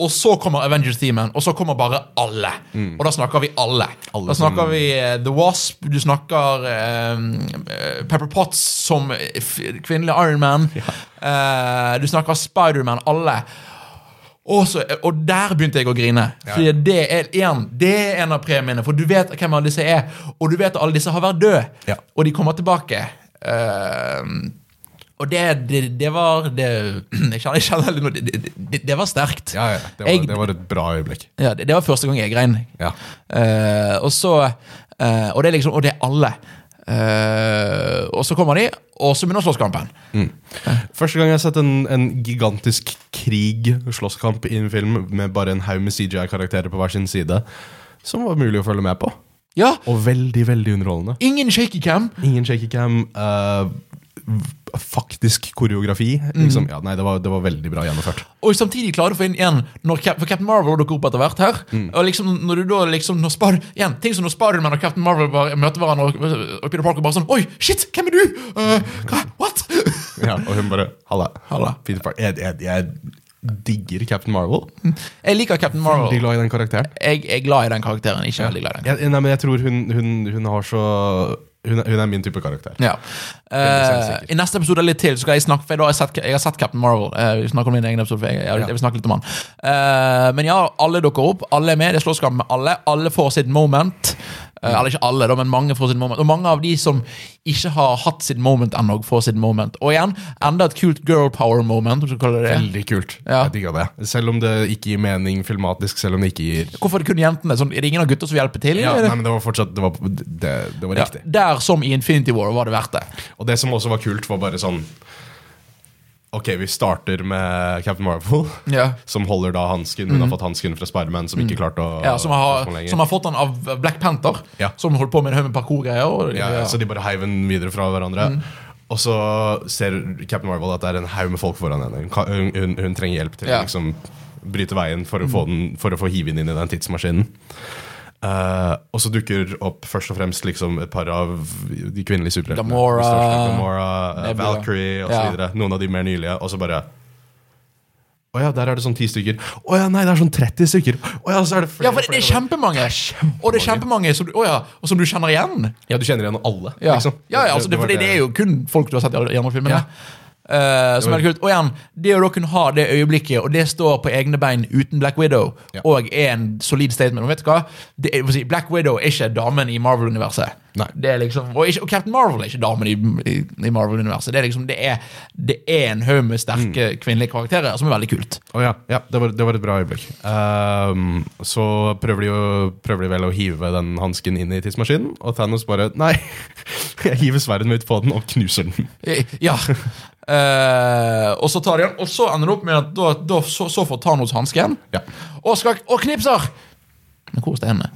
S1: Og så kommer Avengers-teamen, og så kommer bare alle. Og da snakker vi alle.
S2: Mm. Alle
S1: da snakker
S2: som-
S1: vi eh, The Wasp, du snakker eh, eh, Pepper Potts som eh, f- kvinnelig Iron Man. Eh, du snakker Spiderman, alle. Og, så, eh, og der begynte jeg å grine. Fordi det, er, igjen, det er en av premiene. For du vet hvem alle disse er, og du vet at alle disse har vært døde.
S2: Ja.
S1: Og de kommer tilbake. Eh, og det, det, det var det, Jeg kjenner, jeg kjenner litt nå, det, det, det, det var sterkt.
S2: Ja, ja. Det, var,
S1: Jeg-
S2: det var et bra øyeblikk.
S1: ja, det, det var første gang jeg grein.
S2: Ja.
S1: Eh, og så eh, Og det er liksom Og det er alle. Eh, og så kommer de, og så begynner slåsskampen.
S2: Mm. Første gang jeg har sett en, en gigantisk krig, slåsskamp, i en film med bare en haug med CGI-karakterer på hver sin side, som var mulig å følge med på.
S1: Ja!
S2: Og veldig, veldig underholdende.
S1: Ingen shaky cam.
S2: Ingen shaky cam. eh, v- faktisk koreografi.
S1: Mhm.
S2: Liksom. Ja, nei, det var, det var veldig bra gjennomført.
S1: Og samtidig klarer du å få inn igjen når Cap, For Captain Marvel dukker opp etter hvert her.
S2: Mm.
S1: Og liksom når du da liksom når Spar, igjen, Ting som når Spiderman og Captain Marvel bare møter hverandre, og, og Peter Parker bare sånn Oi, shit, hvem er du? Eh, hva? What?
S2: Ja, og hun bare Halla.
S1: Halla.
S2: Peter Park. Jeg, jeg, jeg digger Captain Marvel.
S1: Mm. jeg liker Captain
S2: Veldig
S1: Marvel.
S2: glad i den karakteren.
S1: Jeg jeg er glad i den karakteren. Ikke veldig glad i den.
S2: Jeg, nei, men jeg tror hun, hun, hun har så Hun er, hun er min type karakter.
S1: Ja.
S2: er
S1: Eh,
S2: sikkert.
S1: I neste episode litt til skal jeg snakke For da har jeg, sett, jeg har sett Captain Marvel. Eh, vi snakker om min egen episode for jeg, jeg, jeg vil snakke litt om han. Eh, men ja, alle dukker opp. Alle er med. Det er slåsskamp med alle. Alle får sitt moment. Eh,
S2: Mm.
S1: eller ikke alle, da, men mange får sitt moment. Og mange av de som ikke har hatt sitt moment ennå, får sitt moment. Og igjen, enda et kult girl power moment. om du skal kalle det det.
S2: Veldig kult.
S1: Ja.
S2: Jeg digga det. Selv om det ikke gir mening filmatisk, selv om det ikke gir
S1: Hvorfor er det kun jentene? Sånn, er det ingen av gutta som hjelper til?
S2: ja,
S1: eller?
S2: nei, men Det var fortsatt Det var, det, det var
S1: Ja,
S2: riktig.
S1: der som i Infinity War var det verdt det.
S2: Og det som også var kult, var bare sånn Ok, vi starter med Captain Marvel,
S1: Ja. Mhm.
S2: som holder da hansken. Hun har fått hansken fra Spiderman, som ikke klarte å
S1: Ja, som,
S2: å få den
S1: har,
S2: lenger.
S1: som har fått den av Black Panther,
S2: Ja.
S1: som holdt på med en haug med parkourgreier. og-
S2: ja,
S1: ja. Mm.
S2: Så de bare heiv den videre fra hverandre. Og så ser Captain Marvel at det er en haug med folk foran henne. Hun, kan- hun, hun, hun trenger hjelp til å
S1: Ja. Mm.
S2: liksom bryte veien for å få, den, for å få hive den inn i den tidsmaskinen. Eh, og så dukker opp først og fremst liksom et par av de kvinnelige superheltene.
S1: Gamora,
S2: Gamora eh,
S1: Nebula.
S2: Valkyrie osv.
S1: Ja.
S2: videre Noen av de mer nylige. Og så bare Å ja, der er det sånn ti stykker. Å ja, nei, det er sånn 30 stykker. Å ja, så er det flere.
S1: Ja, for det, det er kjempemange. Og det er kjempemange som du, å ja, og som du kjenner igjen.
S2: Ja, du kjenner igjen alle,
S1: Ja,
S2: liksom.
S1: ja, ja altså, det,
S2: var
S1: fordi det er jo kun folk du har sett i alle- i andre filmene.
S2: Ja.
S1: Eh, som er kult. Og igjen, det å da kunne ha det øyeblikket, og det står på egne bein uten Black Widow,
S2: Ja.
S1: og er en solid statement. Og vet du hva? Det er, jeg vil si, Black Widow er ikke damen i Marvel-universet.
S2: Nei.
S1: Det er liksom, og, ikke, og Captain Marvel er ikke damen i, i, i Marvel-universet. Det er liksom, det er, det er en haug med sterke
S2: Mm.
S1: kvinnelige karakterer, som er veldig kult.
S2: Å ja, ja det, var, det var et bra øyeblikk. Ehm, så prøver de, jo, prøver de vel å hive den hansken inn i tidsmaskinen, og Thanos bare Nei, jeg hiver sverdet mitt på den og knuser den.
S1: Ja. Eh, og så tar de den, og så ender det opp med at da, da, så, så får Thanos hansken.
S2: Ja.
S1: Og, skal, og knipser! Men hvor er steinene?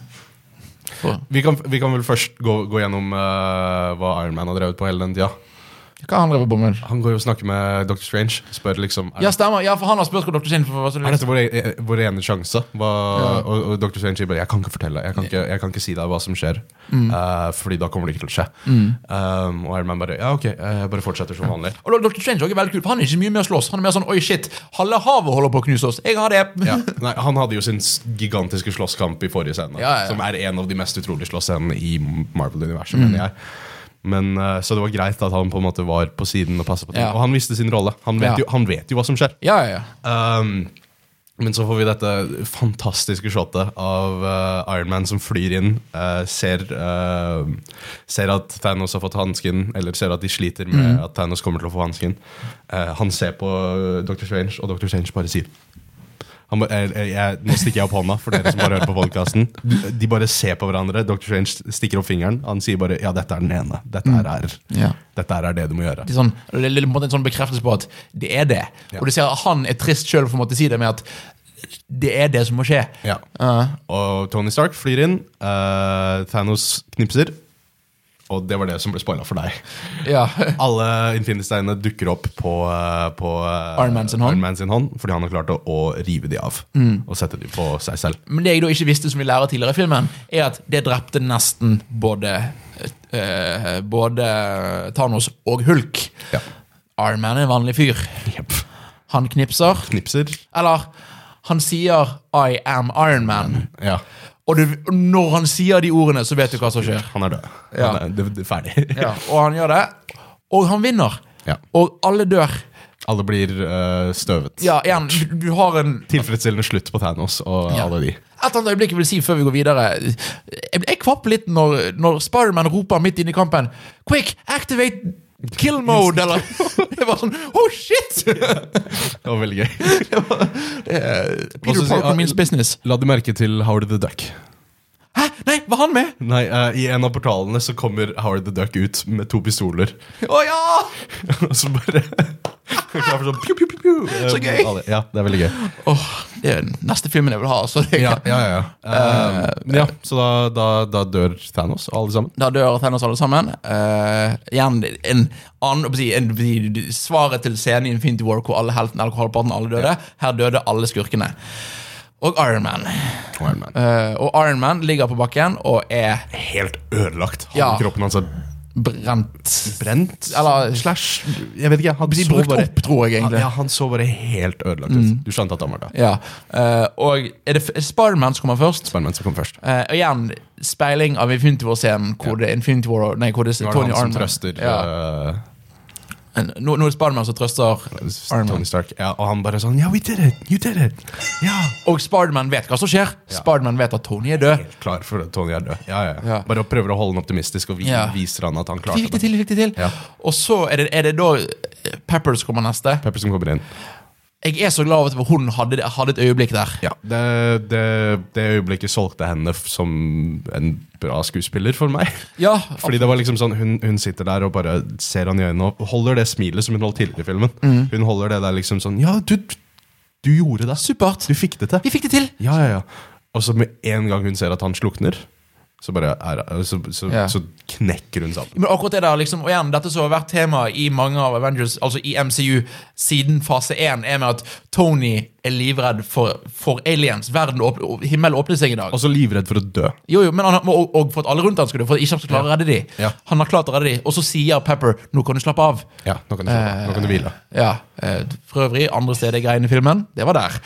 S1: For-
S2: Vi kan, vi kan vel først gå, gå gjennom eh, hva Iron Man har drevet på hele den tida.
S1: Hva han drevet på med?
S2: Han går jo og snakker med Dr. Strange. Spør liksom Er,
S1: Ja, stemmer. Ja, for han har spurt hvor Dr. Strange var. så
S2: er
S1: det-
S2: dette vår, e- vår ene sjanse? Hva, og, og Dr. Strange sier bare Jeg kan ikke fortelle. Jeg kan ikke, jeg kan ikke si deg hva som skjer.
S1: Mm.
S2: eh, fordi da kommer det ikke til å skje. Ehm, og Iron Man bare Ja, ok, jeg bare fortsetter som vanlig.
S1: Og Dr. Strange er også veldig kul, for han er ikke så mye med å slåss. Han er mer sånn 'oi, shit, halve havet holder på å knuse oss'. Jeg har det.
S2: Ja. Nei, han hadde jo sin s- gigantiske slåsskamp i forrige scene,
S1: Ja, ja, ja.
S2: som er en av de mest utrolige slåssscenene i Marvel-universet.
S1: Mm.
S2: mener jeg. Men, eh, så det var greit at han på en måte var på siden og passet på ting.
S1: Ja.
S2: Og han visste sin rolle. Han
S1: Ja.
S2: vet, jo, han vet jo hva som skjer.
S1: Ja, ja, ja.
S2: Um, men så får vi dette fantastiske shotet av eh, Iron Man som flyr inn, eh, ser, eh, ser at Thanos har fått hansken, eller ser at de sliter med at Thanos kommer til å få hansken. Eh, han ser på eh, Dr. Strange, og Dr. Strange bare sier han ba, eh, eh, jeg, Nå stikker jeg opp hånda for dere som bare hører på podkasten. De bare ser på hverandre. Dr. Strange stikker opp fingeren. Han sier bare 'ja, dette er den ene'. Dette her er,
S1: Ja.
S2: dette her er det du må gjøre.
S1: Det er, sånn, det er på en måte en sånn bekreftelse på at det er det.
S2: Ja.
S1: Og du ser at han er trist sjøl for å måtte si det med at det er det som må skje. Eh,
S2: Ja. Og Tony Stark flyr inn. eh, Thanos knipser. Og det var det som ble spoila for deg.
S1: Ja.
S2: Alle Infinity-steinene dukker opp på, eh, på eh,
S1: Iron Man sin hånd. Mm.
S2: Iron Man sin hånd fordi han har klart å, å rive de av. Og sette de på seg selv.
S1: Men det jeg da ikke visste, som vi lærer tidligere i filmen, er at det drepte nesten både eh, Både Thanos og Hulk.
S2: Ja.
S1: Iron Man er en vanlig fyr. Han knipser.
S2: Knipser.
S1: Eller han sier 'I am Iron Man'.
S2: Ja.
S1: Og du, og når han sier de ordene, så vet du hva som skjer.
S2: Han er død.
S1: Ja.
S2: Han er, det, det er ferdig.
S1: Ja, og han gjør det. Og han vinner.
S2: Ja.
S1: Og alle dør.
S2: Alle blir eh, støvet.
S1: Ja, igjen, du, du har en
S2: Tilfredsstillende slutt på Thanos og
S1: Ja.
S2: alle de.
S1: Et eller annet øyeblikk jeg vil si før vi går videre. Jeg, jeg kvapper litt når, når Spiderman roper midt inne i kampen Quick, activate kill mode! Eller Det var sånn Oh, shit!
S2: Det var veldig gøy.
S1: Peter
S2: så sier-
S1: Parker means business.
S2: La du merke til Howard the Duck?
S1: Hæ? Nei, var han med?
S2: Nei, eh, I en av portalene så kommer Howard the Duck ut med to pistoler.
S1: Å ja!
S2: Og så bare Klar for sånn piu, piu, piu, piu. eh,
S1: Så gøy!
S2: mot alle. Ja, det er veldig gøy.
S1: Åh, det er den neste filmen jeg vil ha. Så det,
S2: Eh, men ja, så da, da, da dør Thanos og alle sammen.
S1: Da dør Thanos alle sammen. Eh, igjen en annen å si, en, å si, Svaret til scenen i Infinity War hvor alle heltene eller hvor halvparten alle døde. Her døde alle skurkene. Og Iron Man.
S2: Iron Man.
S1: Eh, og Iron Man ligger på bakken og er
S2: Helt ødelagt. Han,
S1: Ja.
S2: Kroppen hans er
S1: brent
S2: Brent?
S1: Eller-
S2: slash Jeg vet ikke. Han
S1: De
S2: så
S1: brukt
S2: bare- Mm.
S1: opp, tror jeg, egentlig.
S2: Ja, han så bare helt ødelagt ut. Du skjønte at han var død.
S1: Ja. Eh, og er det f- Spiderman som kommer først?
S2: Spiderman som kom først.
S1: Eh, og igjen speiling av Infinity War-scenen, hvor det er Infinity War Nei, hvor det
S2: Nå
S1: er
S2: er det
S1: Tony
S2: han som
S1: Arman.
S2: trøster
S1: Ja.
S2: eh,
S1: Nå, nå er det Spiderman som trøster Iron Man.
S2: Tony Stark. Ja, og han bare sånn Yeah, we did it! You did it! Ja!
S1: Og Spiderman vet hva som skjer.
S2: Ja.
S1: Spiderman vet at Tony er død.
S2: Helt klar for at Tony er død. Ja, ja.
S1: Ja.
S2: ja. Bare prøver å holde han optimistisk, og vi
S1: Ja.
S2: viser han at
S1: Vi
S2: han
S1: fikk
S2: klarte
S1: det til, vi fikk det til.
S2: Ja.
S1: Og så er det, er det da eh, Peppers kommer neste.
S2: Pepper som kommer inn.
S1: Jeg er så glad over at hun hadde, hadde et øyeblikk der.
S2: Ja, det, det, det øyeblikket solgte henne f- som en bra skuespiller for meg.
S1: Ja,
S2: Fordi det var liksom sånn, hun, hun sitter der og bare ser han i øynene og holder det smilet som hun holdt tidligere i filmen.
S1: Mm.
S2: Hun holder det der liksom sånn Ja, du, du gjorde det!
S1: supert.
S2: Du fikk det til!
S1: Vi fikk det til!
S2: Ja, ja, ja. Og så med en gang hun ser at han slukner, så bare er, så, så,
S1: Ja.
S2: så knekker hun sammen.
S1: Men akkurat det der, liksom, og igjen, Dette som har vært tema i mange av Avengers, altså i MCU, siden fase 1, er med at Tony er livredd for, for aliens. Verden åp himmelen åpner seg i dag.
S2: Altså livredd for å dø.
S1: Jo, jo, men han har, og, og for at alle rundt han skulle dø, for at ikke han skulle klare å redde dem.
S2: Ja.
S1: Han har klart å redde dem, og så sier Pepper 'nå kan du slappe av'.
S2: Ja, nå kan du, slappe av. nå kan du hvile.
S1: Eh, Ja, eh, For øvrig, andre steder greiene i filmen, det var der.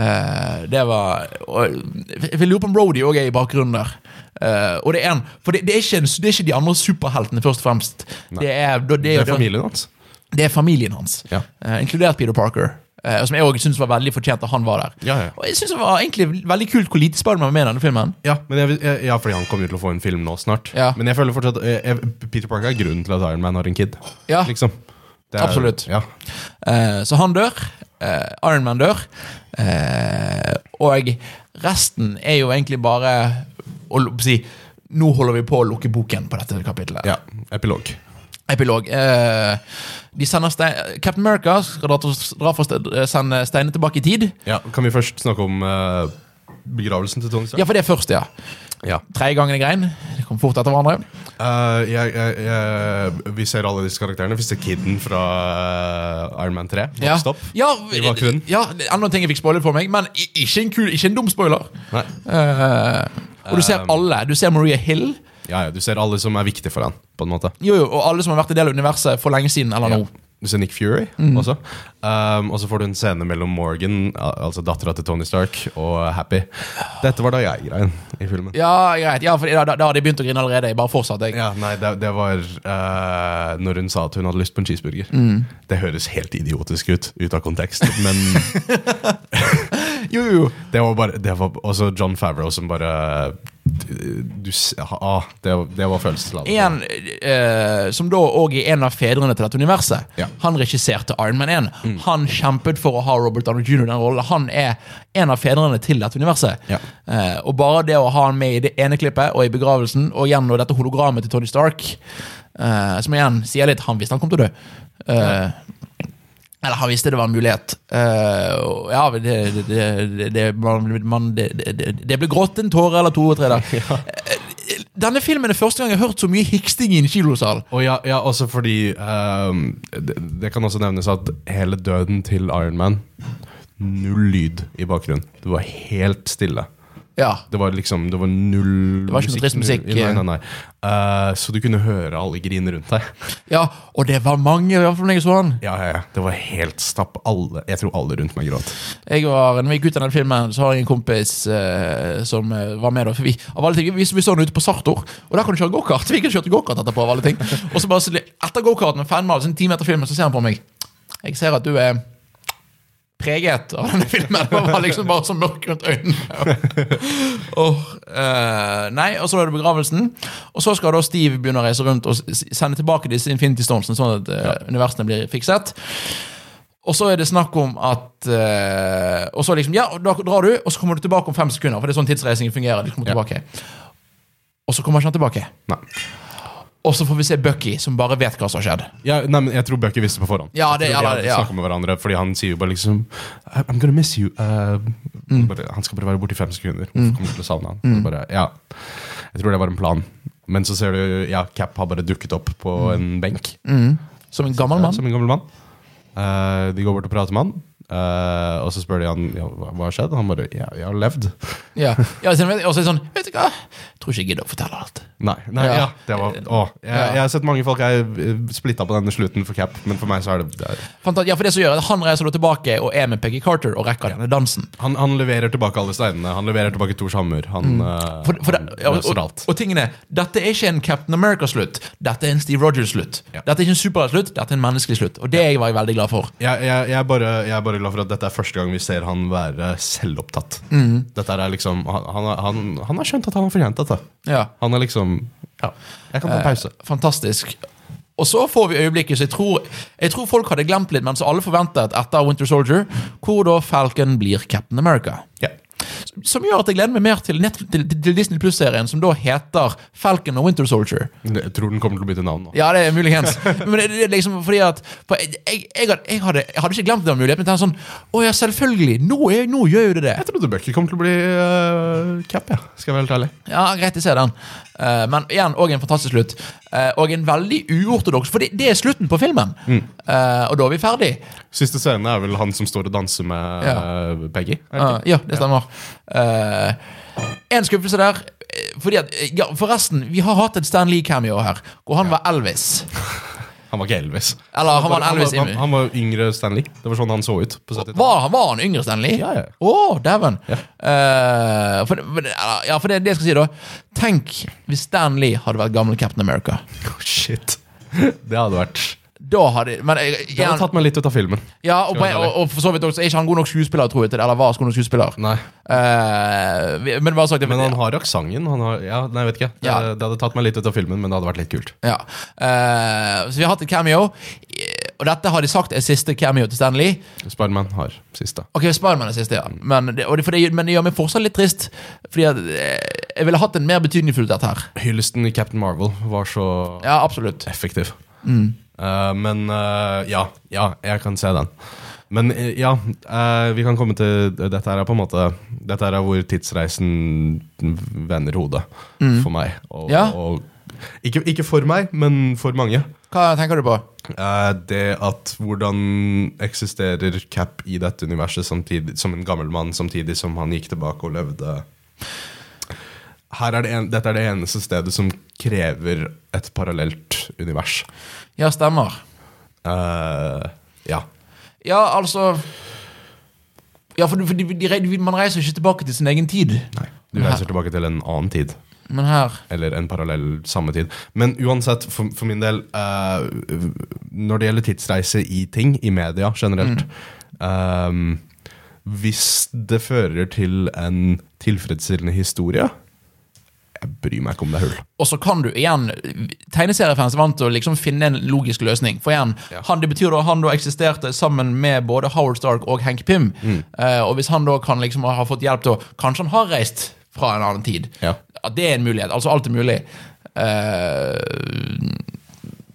S1: Eh, det var og, Jeg vil lure på om Brody òg er i bakgrunnen der. Eh, og det er en, for det, det, er ikke en, det er ikke de andre superheltene, først og fremst. Det er, det,
S2: Det
S1: er
S2: er familien hans.
S1: det er familien hans,
S2: Ja.
S1: Eh, inkludert Peter Parker. eh, som jeg også synes var veldig fortjent at han var der.
S2: Ja, ja.
S1: Og jeg synes det var egentlig veldig kult hvor lite Spiderman var med i denne filmen.
S2: Ja, men jeg, vil- jeg, ja, fordi han kommer jo til å få en film nå snart.
S1: Ja.
S2: Men jeg føler fortsatt jeg, jeg, Peter Parker er grunnen til at Iron Man har en kid.
S1: Ja.
S2: Liksom. Det er-
S1: Absolutt.
S2: Ja.
S1: Eh, så han dør. eh, Iron Man dør. eh, og resten er jo egentlig bare å l- si Nå holder vi på å lukke boken på dette kapittelet.
S2: ja. Epilog.
S1: Epilog. Eh, de sender stein, Captain America skal dra, til- dra for ste- sende steinene tilbake i tid.
S2: Ja, kan vi først snakke om eh, begravelsen til Tony Stark?
S1: Ja, for det er først, ja.
S2: Ja.
S1: Tredje gangen er grein. Det kom fort etter hverandre.
S2: Eh, jeg, jeg, jeg, vi ser alle disse karakterene. Vi ser kiden fra eh, Iron Man 3.
S1: Ja.
S2: Vokst opp.
S1: Ja,
S2: I bakgrunnen.
S1: ja, det er enda en ting jeg fikk spoilet for meg, men i- ikke en, kul, ikke en dum spoiler.
S2: Nei.
S1: Eh, og du ser
S2: Um.
S1: alle. Du ser Maria Hill.
S2: Ja, ja, du ser alle som er viktige for han, på en måte.
S1: Jo, jo, og alle som har vært en del av universet for lenge siden. eller
S2: Ja.
S1: nå.
S2: Oh, Du ser Nick Fury
S1: Mhm.
S2: også. Um, og så får du en scene mellom Morgan, al- altså dattera til Tony Stark, og Happy. Dette var da jeg-greien i filmen.
S1: Ja, greit. Ja, for da, da, da hadde jeg begynt å grine allerede. Jeg bare fortsatte. jeg.
S2: Ja, nei, det, det var eh, når hun sa at hun hadde lyst på en cheeseburger.
S1: Mm.
S2: Det høres helt idiotisk ut, ut av kontekst, men
S1: Jo, jo, jo.
S2: det var bare Det var også John Favreau som bare du, s- ah, det, var- det var følelsesladet.
S1: En eh, som da òg er en av fedrene til dette universet.
S2: Ja. Mm.
S1: Han regisserte Iron Man 1. Han kjempet for å ha Robert Downey Jr. i den rollen. Han er en av fedrene til dette universet.
S2: Ja.
S1: Eh, og bare det å ha han med i det ene klippet og i begravelsen, og igjen nå dette hologrammet til Tony Stark, eh, som igjen sier litt Han visste han kom til å dø. Eh, Eller han visste det var en mulighet. Eh, og ja, det, det, det, det, man, man, det, det, det- det ble grått en tåre eller to og tre der. Eh, Denne filmen er første gang jeg har hørt så mye hiksting i en kilosal.
S2: Og ja, ja, også fordi ehm, det, det kan også nevnes at hele døden til Iron Man Null lyd i bakgrunnen. Det var helt stille.
S1: Ja.
S2: Det var liksom, det var null
S1: Det var ikke noe trist musikk.
S2: null- Nei, nei, nei. Eh, så du kunne høre alle grine rundt deg.
S1: ja, og det var mange, i hvert fall når jeg så han.
S2: Ja, ja, ja. Det var helt stapp. Alle, jeg tror alle rundt meg gråt.
S1: Jeg var, når vi gikk ut av den filmen, så har jeg en kompis eh, som eh, var med. da For vi, av alle ting, vi, vi så den ute på Sartor, og der kan du kjøre gokart. Vi kan kjøre gokart etterpå, av alle ting. Og så bare så- etter gokarten, med fanmal, så en time etter filmen, så ser han på meg. Jeg ser at du er preget av denne filmen. Det var liksom bare så mørk rundt øynene. og, eh, nei, og så er det begravelsen. Og så skal da Steve begynne å reise rundt og s- s- sende tilbake disse Infinity Stonesene, sånn at eh, universene blir fikset. Og så er det snakk om at eh, Og så liksom, ja, og da drar du, og så kommer du tilbake om fem sekunder. For det er sånn tidsreisingen fungerer. Du kommer
S2: Ja.
S1: tilbake. Og så kommer ikke han tilbake.
S2: Nei.
S1: Og så får vi se Bucky, som bare vet hva som har skjedd.
S2: Ja, nei, men jeg tror Bucky visste på forhånd.
S1: Ja, det-
S2: jeg tror de
S1: ja,
S2: hadde
S1: ja.
S2: snakket med hverandre Fordi han sier jo bare liksom "I- I'm gonna miss you. eh,
S1: Mm.
S2: bare, han skal bare være borte i fem sekunder. Hvorfor kommer du til å savne han? Og Bare, ja. Jeg tror det var en plan. Men så ser du ja, Cap har bare dukket opp
S1: Mm.
S2: på en benk
S1: Som en gammel
S2: eh,
S1: mann.
S2: som en gammel mann. Eh, de går bort og prater med han, eh, og så spør de han ja, hva hva har skjedd. Han bare ja, 'Jeg har levd'.
S1: Ja. Ja, så- og så er det sånn Vet du hva, jeg tror ikke jeg gidder å fortelle alt.
S2: Nei. nei
S1: Ja.
S2: ja. det var, å, jeg,
S1: Ja.
S2: jeg har sett mange folk er eh, splitta på denne slutten for Cap, men for meg så er det, det er,
S1: Fanta- ja, for det som gjør at Han reiser da tilbake og er med Peggy Carter og rekker denne dansen.
S2: han, han leverer tilbake alle steinene. Han leverer tilbake Thors hammer. Han, eh,
S1: Mm. For, for det,
S2: han
S1: ja, og,
S2: løser
S1: og,
S2: alt.
S1: og tingene, Dette er ikke en Captain America-slutt. Dette er en Steve Rogers-slutt.
S2: Ja.
S1: Dette er ikke en superhelt-slutt, dette er en menneskelig slutt. Og det var jeg veldig glad for.
S2: Jeg, jeg, jeg, er bare, jeg er bare glad for at dette er første gang vi ser han være selvopptatt.
S1: Mm.
S2: Dette er liksom, han, han, har- han, han har skjønt at han har fortjent dette.
S1: Ja,
S2: Han er liksom Ja, jeg kan ta en pause.
S1: Eh, Fantastisk. Og så får vi øyeblikket som jeg tror, jeg tror folk hadde glemt litt, men som alle forventet etter Winter Soldier, hvor da Falcon blir Captain America.
S2: Ja.
S1: Som gjør at jeg gleder meg mer til, nett, til, til Disney Pluss-serien, som da heter Falcon og Winter Soldier.
S2: Jeg tror den kommer til å bytte navn nå.
S1: Ja, det er muligens. Men det, det er liksom fordi at for jeg, jeg, jeg, hadde, jeg, hadde, jeg hadde ikke glemt den muligheten. Men jeg tenkte sånn Å ja, selvfølgelig! Nå, er, nå gjør jo det det.
S2: Jeg trodde Bucky kom til å bli eh, cap, ja. skal jeg være helt ærlig.
S1: Ja, greit, jeg ser den. Eh, men igjen, òg en fantastisk slutt. Eh, og en veldig uortodoks, for det, det er slutten på filmen.
S2: Mm.
S1: Eh, og da er vi ferdig.
S2: Siste scene er vel han som står og danser med
S1: Ja.
S2: eh, Peggy. er det
S1: Eh,
S2: ikke?
S1: ja, det stemmer. Eh, en skuffelse der. eh, Fordi at, eh, ja, Forresten, vi har hatt en Stan Lee-cameo her, hvor han var Elvis.
S2: Han var ikke Elvis.
S1: Eller han var en
S2: han,
S1: Elvis
S2: var, han, han var yngre Stanley. Det var sånn han så ut på 70-tallet.
S1: Var, han- var han yngre Stanley?
S2: Ja, ja.
S1: Å, dæven.
S2: Ja.
S1: Eh, for, for, ja, for det, det jeg skal si, da. Tenk hvis Stan Lee hadde vært gamle Captain America.
S2: Oh, shit. Det hadde vært
S1: Da hadde men, eh,
S2: Det hadde tatt meg litt ut av filmen.
S1: ja, og, på,
S2: Skal vi
S1: og, og for så vidt også, er ikke han god nok skuespiller, tror jeg. Til, det, eller var god nok skuespiller.
S2: Nei.
S1: Eh, vi- men bare sagt det.
S2: Men han har aksenten. Han har, ja, nei, jeg vet ikke. Det,
S1: Ja.
S2: det hadde tatt meg litt ut av filmen, men det hadde vært litt kult.
S1: Ja. Eh, så vi har hatt et cameo. eh, Og dette har de sagt er siste cameo til Stan Lee.
S2: Spiderman har siste.
S1: Ok, Spiderman er siste, ja. Men det, og det, for det, gjør- men det gjør meg fortsatt litt trist. Fordi at, eh, jeg ville hatt en mer betydningsfull dette her.
S2: Hyllesten i Captain Marvel var så
S1: Ja, Mm. absolutt.
S2: effektiv. Eh, men eh, ja, ja, jeg kan se den. Men eh, ja, eh, vi kan komme til Dette her er på en måte Dette her er hvor tidsreisen vender hodet for meg.
S1: Mm.
S2: Og,
S1: Ja.
S2: og, ikke, ikke for meg, men for mange.
S1: Hva tenker du på?
S2: Eh, det at hvordan eksisterer Cap i dette universet samtidig, som en gammel mann, samtidig som han gikk tilbake og levde Her er det en, Dette er det eneste stedet som krever et parallelt univers.
S1: Ja, stemmer.
S2: Eh, ja.
S1: Ja, altså Ja, for, for de, de, de, man reiser jo ikke tilbake til sin egen tid.
S2: Nei. Du reiser tilbake til en annen tid.
S1: Men her
S2: Eller en parallell samme tid. Men uansett, for, for min del eh, Når det gjelder tidsreise i ting, i media generelt
S1: Mm.
S2: eh, Hvis det fører til en tilfredsstillende historie Jeg bryr meg ikke om det er hull.
S1: Og så kan du igjen Tegneseriefans er vant til å liksom finne en logisk løsning. For igjen,
S2: Ja.
S1: han, det betyr da han da eksisterte sammen med både Howard Stark og Hank Pym.
S2: Mm.
S1: Eh, og hvis han da kan liksom ha fått hjelp til å Kanskje han har reist fra en annen tid.
S2: Ja.
S1: At det er en mulighet. Altså alt er mulig. Eh,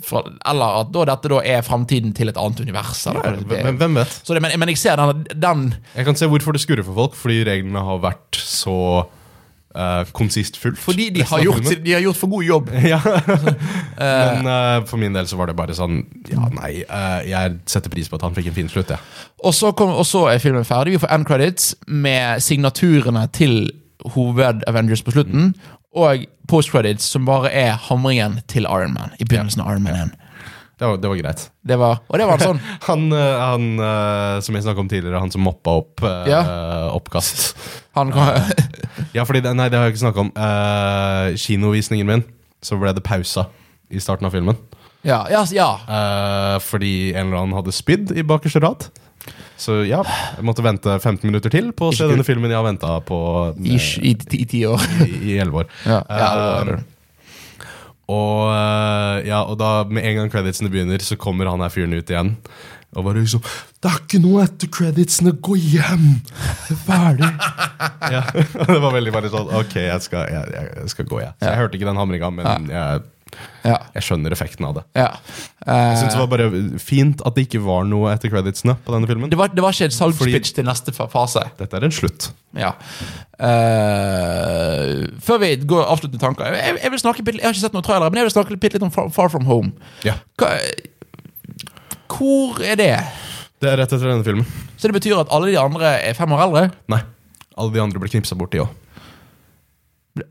S1: fra- eller at da dette da er framtiden til et annet univers. Eller, hva det er.
S2: Eh, Hvem, hvem vet?
S1: så det, men, men jeg ser den, den
S2: Jeg kan se hvorfor det skurrer for folk, fordi reglene har vært så uh, konsistfullt.
S1: Fordi de
S2: resten
S1: har,
S2: av
S1: gjort,
S2: filmen.
S1: sin- de har gjort for god jobb.
S2: Ja. Men eh, for min del så var det bare sånn Ja, nei, eh, jeg setter pris på at han fikk en fin slutt, jeg.
S1: Og så, kom, og så er filmen ferdig. Vi får end credits med signaturene til hoved-Avengers på slutten. Og post-credits, som bare er hamringen til Iron Man. I begynnelsen av Iron Man 1.
S2: Det var, det var greit.
S1: Det var, og det var en sånn.
S2: Han, eh, han eh, som jeg snakka om tidligere, han som moppa opp eh,
S1: Ja.
S2: oppkast.
S1: Han kom,
S2: Ja, fordi det, Nei, det har jeg ikke snakka om. Eh, kinovisningen min, så ble det pausa i starten av filmen.
S1: ja, ja, ja.
S2: Eh, fordi en eller annen hadde spydd i bakerste rad. Så ja, jeg måtte vente 15 minutter til på å se
S1: Ikke
S2: denne filmen jeg har venta på eh,
S1: I, i, i ti år.
S2: i elleve år. Eh,
S1: Ja, ja, det var det.
S2: og, eh, ja, og da med en gang creditsene begynner, så kommer han her fyren ut igjen. Og bare liksom 'Det er ikke noe etter creditsene! Gå hjem! Det er ferdig!' ja. og Det var veldig bare sånn 'Ok, jeg skal, jeg, jeg, jeg skal gå, jeg'. Så jeg hørte ikke den hamringa, men jeg,
S1: Ja.
S2: jeg skjønner effekten av det.
S1: ja.
S2: Jeg synes
S1: Eh,
S2: det var bare fint at det ikke var noe etter creditsene på denne filmen.
S1: Eh, det, var, det var ikke et
S2: Fordi-
S1: salgspitch til neste fa- fase.
S2: Dette er en slutt.
S1: Ja. Eh, før vi går avsluttende tanker jeg, jeg, vil snakke, bitte- jeg har ikke sett noen trailer, men jeg vil snakke litt, litt om Far, Far From Home.
S2: Ja.
S1: Hva, hvor er det?
S2: Det er rett etter denne filmen.
S1: Så det betyr at alle de andre er fem år eldre?
S2: Nei. Alle de andre ble knipsa bort, de òg.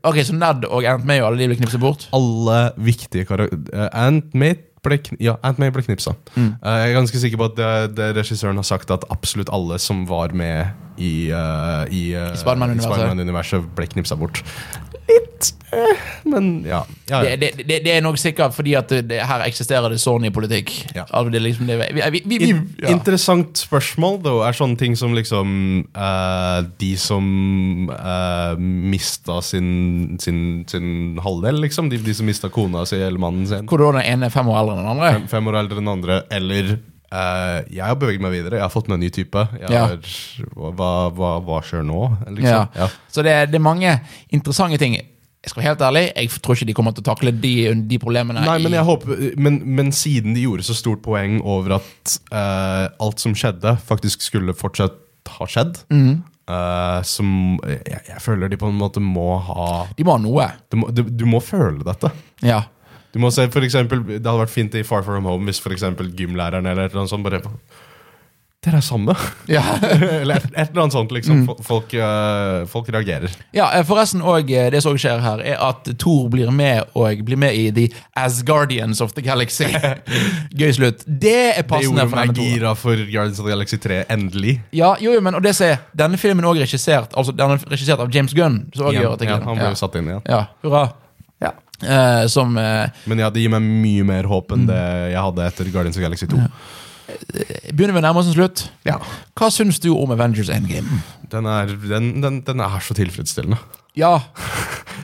S1: Ok, Så Ned og Ant May og alle de ble knipset bort?
S2: alle viktige karakterer Ant Mate ble, kn ja, Ant May ble knipsa.
S1: Mm.
S2: Eh, jeg er ganske sikker på at det, det regissøren har sagt at absolutt alle som var med i, eh, i, eh,
S1: I Spider-Man-universet.
S2: Spider-Man-universet, ble knipsa bort. Litt eh, Men ja. ja, ja.
S1: Det, det, det, det er nok sikkert fordi at det, det, her eksisterer det Sony-politikk.
S2: Ja.
S1: Altså, det er liksom det, vi, vi, vi, vi,
S2: In
S1: ja.
S2: Interessant spørsmål, da, er sånne ting som liksom eh, De som uh, mista sin, sin, sin halvdel, liksom. De, de som mista kona si eller mannen sin.
S1: Hvor da den ene er fem år eldre enn den andre?
S2: fem, fem år eldre enn andre, eller eh, jeg har beveget meg videre, jeg har fått meg en ny type. Jeg
S1: Ja.
S2: har, hva, hva, hva skjer nå?
S1: Ja.
S2: Liksom. Ja.
S1: Så det, er- det er mange interessante ting. Jeg skal være helt ærlig, jeg tror ikke de kommer til å takle de, de problemene.
S2: Nei, men,
S1: i-
S2: jeg håper, men, men siden de gjorde så stort poeng over at eh, alt som skjedde, faktisk skulle fortsatt ha skjedd,
S1: Mhm.
S2: eh, som jeg, jeg føler de på en måte må ha
S1: De må ha noe.
S2: Du må, du, du må føle dette.
S1: Ja.
S2: Du må se for eksempel, Det hadde vært fint i Far From Home hvis for eksempel gymlæreren eller et eller annet sånt bare Dere er samme!
S1: Ja.
S2: Eller et, et eller annet sånt, liksom.
S1: Mm.
S2: Fol- Folk, øh, folk reagerer.
S1: ja, eh, forresten og eh, det som også skjer her, er at Thor blir med og blir med i The Asgardians of the Galaxy. Gøy slutt. Det er
S2: Det
S1: passende
S2: gjorde
S1: for
S2: meg
S1: denne Thor.
S2: gira for Guardians of the Galaxy 3, endelig.
S1: Ja, jo, jo, men og det som er, Denne filmen er også regissert, altså, den er regissert av James Gunn. Som også
S2: Igjen.
S1: gjør at jeg-
S2: ja, han ble
S1: ja.
S2: jo satt inn igjen.
S1: Ja, hurra. Eh, som eh,
S2: Men ja, det gir meg mye mer håp
S1: Mm.
S2: enn det jeg hadde etter Guardians of the Galaxy 2.
S1: begynner vi å nærme oss en slutt.
S2: Ja.
S1: Hva syns du om Avengers Endgame?
S2: Den, er, den, den, den er så tilfredsstillende.
S1: Ja,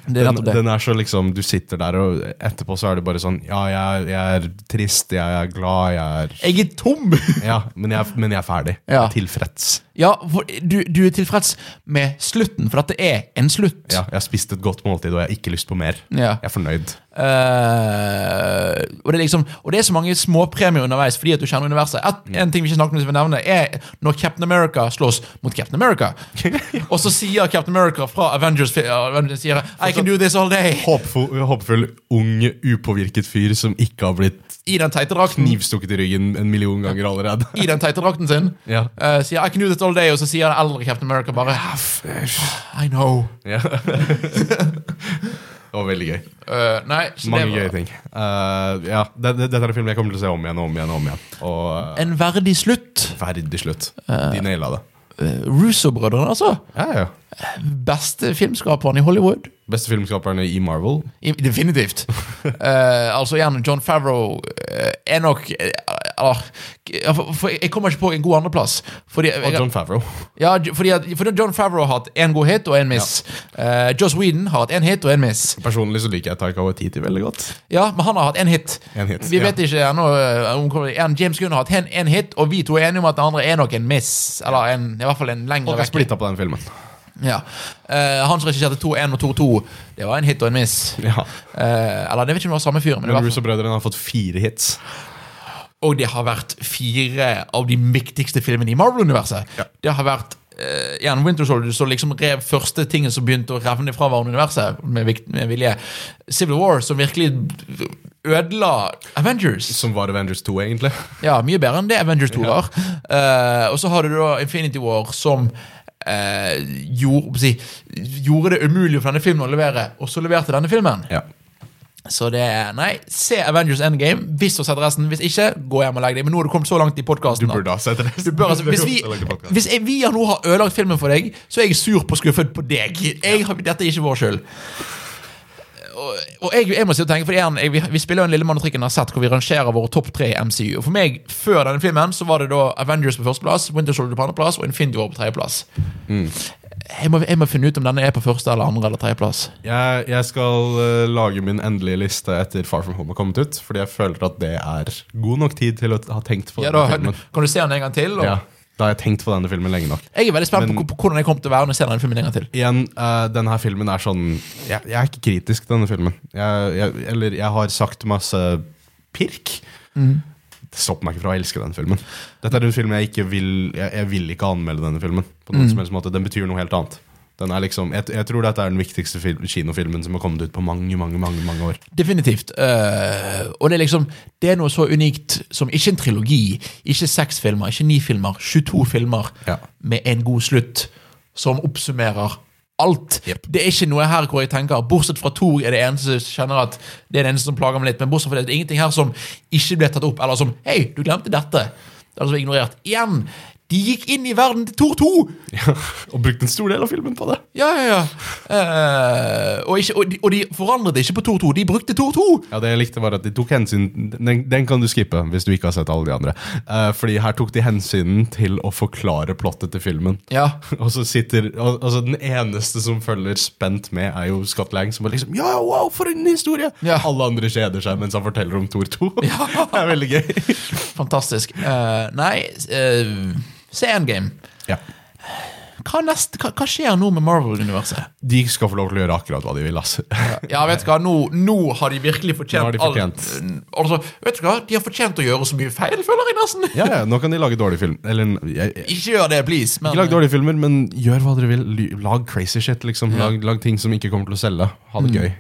S1: det er
S2: Den,
S1: nettopp det.
S2: den er så liksom, Du sitter der, og etterpå så er det bare sånn Ja, jeg, er- jeg er trist, jeg er glad, jeg er
S1: Jeg er tom!
S2: Ja, men jeg, men jeg er ferdig. Jeg
S1: Ja.
S2: er tilfreds.
S1: Ja, for du, du er tilfreds med slutten, for dette er en slutt.
S2: Ja, jeg har spist et godt måltid, og jeg har ikke lyst på mer.
S1: Ja.
S2: Jeg er fornøyd.
S1: Eh, og, det er liksom, og det er så mange småpremier underveis fordi at du kjenner universet. Et, en ting vi ikke snakket om, som vi nevner, er når Captain America slåss mot Captain America. og så sier Captain America fra Avengers, fi- Avengers sier, I can do this all day
S2: håpfull, håpfull ung, upåvirket fyr som ikke har blitt
S1: i den teite drakten.
S2: knivstukket i ryggen en million ganger allerede.
S1: I den teite drakten sin.
S2: Ja.
S1: Eh, sier I can do this all day, og så sier den eldre Captain America bare "Ah, I know.
S2: Ja. det var veldig gøy.
S1: Eh, nei, så
S2: Mange
S1: det
S2: gøye
S1: var
S2: ting. Eh, ja, det, det, dette er en film jeg kommer til å se om igjen og om igjen. Og om igjen. Og eh,
S1: en verdig slutt.
S2: ferdig slutt. De naila det.
S1: Eh, Russo-brødrene, altså.
S2: Ja, ja.
S1: Beste filmskaperen i Hollywood.
S2: Beste filmskaperne i Marvel.
S1: I, definitivt. Eh, altså igjen, John Favreau eh, er nok eh, ah, ja, for, for Jeg kommer ikke på en god andreplass. Fordi,
S2: Og John Favreau.
S1: ja, jo- fordi, at- fordi John Favreau har hatt én god hit og én miss. Eh, Joss Whedon har hatt én hit og én miss.
S2: Personlig så liker jeg Taika Waititi veldig godt.
S1: Ja, men han har hatt én hit.
S2: En hit,
S1: Vi
S2: ja.
S1: vet ikke ennå eh, om hvor- en James Gunn har hatt en- en hit, og vi to er enige om at den andre er nok en miss. Eller en, i hvert fall en lengre
S2: Folk er
S1: rekke.
S2: splitta på den filmen.
S1: Ja. Eh, han som regisserte 2-1 og 2-2, det var en hit og en miss.
S2: Ja.
S1: Eh, eller jeg vet ikke om det var samme fyr, men, det var,
S2: Men Russo-brødrene har fått fire hits.
S1: og det har vært fire av de viktigste filmene i Marvel-universet.
S2: Ja.
S1: Det har vært eh, igjen Winter Soldier som liksom rev første tingen som begynte å revne fra hverandre-universet, med, vikt- med vilje. Civil War, som virkelig ødela Avengers.
S2: Som var Avengers 2, egentlig.
S1: Ja, mye bedre enn det Avengers 2 var. Eh, og så har du da Infinity War, som eh, gjorde, hva skal jeg si, gjorde det umulig for denne filmen å levere, og så leverte denne filmen.
S2: Ja.
S1: Så det er, nei, se Avengers Endgame hvis du har sett resten. Hvis ikke, gå hjem og legg deg. Men nå har du kommet så langt i podkasten.
S2: Du burde ha sett det.
S1: Altså, hvis vi, hvis jeg, vi har nå har ødelagt filmen for deg, så er jeg sur på skuffet på deg. Jeg, har- dette er ikke vår skyld. Og, og jeg, jeg må si og tenke, for igjen, jeg, vi, vi spiller jo en Lille mann og trikken har sett hvor vi rangerer våre topp tre i MCU. Og for meg, før denne filmen, så var det da Avengers på førsteplass, Winter Soldier på andreplass og Infinity War på tredjeplass.
S2: Mm.
S1: Jeg, må- jeg må finne ut om denne er på første eller andre eller tredjeplass.
S2: Jeg, jeg skal eh, lage min endelige liste etter Far From Home har kommet ut. Fordi jeg føler at det er god nok tid til å t- ha tenkt på
S1: Ja, da
S2: denne filmen.
S1: kan du se den en gang til. Og,
S2: Ja, da har jeg tenkt på denne filmen lenge nok.
S1: Jeg er veldig spent på, på hvordan jeg kommer til å være når jeg ser denne filmen en gang til.
S2: Igjen, eh, denne her filmen er sånn Jeg, jeg er ikke kritisk til denne filmen. Jeg, jeg, eller jeg har sagt masse pirk.
S1: Mm.
S2: Det stopper meg ikke fra å elske denne filmen. Dette er en film jeg ikke vil Jeg, jeg vil ikke anmelde denne filmen. På
S1: Mm.
S2: noen som helst måte Den betyr noe helt annet. Den er liksom, jeg, jeg tror dette er den viktigste film, kinofilmen som har kommet ut på mange, mange, mange, mange år.
S1: Definitivt. Øh, og det er liksom Det er noe så unikt som ikke en trilogi, ikke seks filmer, ikke ni filmer, 22 filmer
S2: Ja.
S1: med en god slutt som oppsummerer alt. Det er ikke noe her hvor jeg tenker Bortsett fra Thor er det eneste som kjenner at det er det eneste som plager meg litt. Men bortsett fra det, det er ingenting her som ikke ble tatt opp, eller som Hei, du glemte dette. Eller som er altså ignorert. Igjen! De gikk inn i verden til Thor 2!
S2: og brukte en stor del av filmen på det.
S1: Ja, ja, ja. Eh, og, ikke, og, de, og de forandret ikke på Thor 2. De brukte Thor 2!
S2: Ja, det jeg likte var at de tok hensyn den, den kan du skippe hvis du ikke har sett alle de andre. Eh, fordi her tok de hensynen til å forklare plottet til filmen.
S1: Ja.
S2: Og så sitter al- altså Den eneste som følger spent med, er jo Scott Lang, som er liksom Ja, wow, for en historie!
S1: Ja.
S2: Alle andre kjeder seg mens han forteller om Thor 2. det er veldig gøy.
S1: Fantastisk. Eh, nei, eh, se Endgame.
S2: Ja.
S1: Hva, neste, hva, hva skjer nå med Marvel-universet?
S2: De skal få lov til å gjøre akkurat hva de vil. ass.
S1: Ja, vet du hva, nå, nå har de virkelig fortjent
S2: Nå har de
S1: all-
S2: fortjent.
S1: altså, vet du hva, de har fortjent å gjøre så mye feil, føler jeg nesten.
S2: Ja, ja, Nå kan de lage dårlige film. Eller jeg, jeg,
S1: Ikke gjør det, please. Men,
S2: Ikke lag dårlige filmer, men gjør hva dere vil. Ly- Lag crazy shit, liksom. Lag, lag ting som ikke kommer til å selge. Ha
S1: Mm.
S2: det gøy.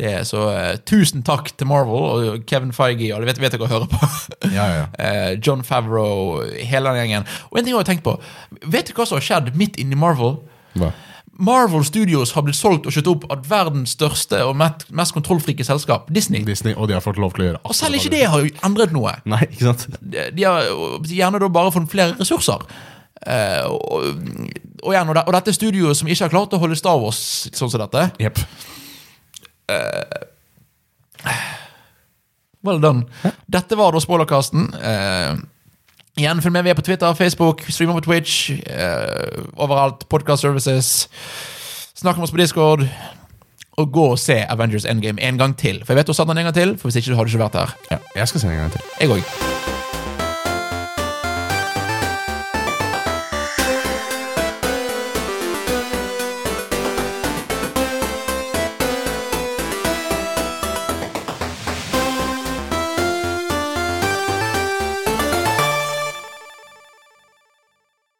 S1: det er så eh, tusen takk til Marvel og Kevin Feige, og vet, vet dere hva jeg hører på.
S2: Ja, ja, ja.
S1: Eh, John Favreau, hele den gjengen. Og en ting jeg har tenkt på, vet du hva som har skjedd midt inni Marvel?
S2: Hva?
S1: Marvel Studios har blitt solgt og kjøtt opp av verdens største og met- mest kontrollfrike selskap, Disney.
S2: Disney, og de har fått lov til å gjøre
S1: Og selv ikke det har jo endret noe.
S2: Nei, ikke sant?
S1: De de har øh, gjerne da bare fått flere ressurser. Eh, og, og, igjen, og, det, og dette er studioet som ikke har klart å holde Star Wars sånn som dette.
S2: Jepp.
S1: Well done. Dette var da spoilerkasten. Eh, igjen, følg med. Vi er på Twitter, Facebook, streamer på Twitch. eh, overalt. Podcast services. Snakk med oss på Discord. Og gå og se Avengers Endgame en gang til. For jeg vet du har sett den en gang til, for hvis ikke du hadde ikke vært der.
S2: Ja, jeg skal se den en gang til.
S1: Jeg òg.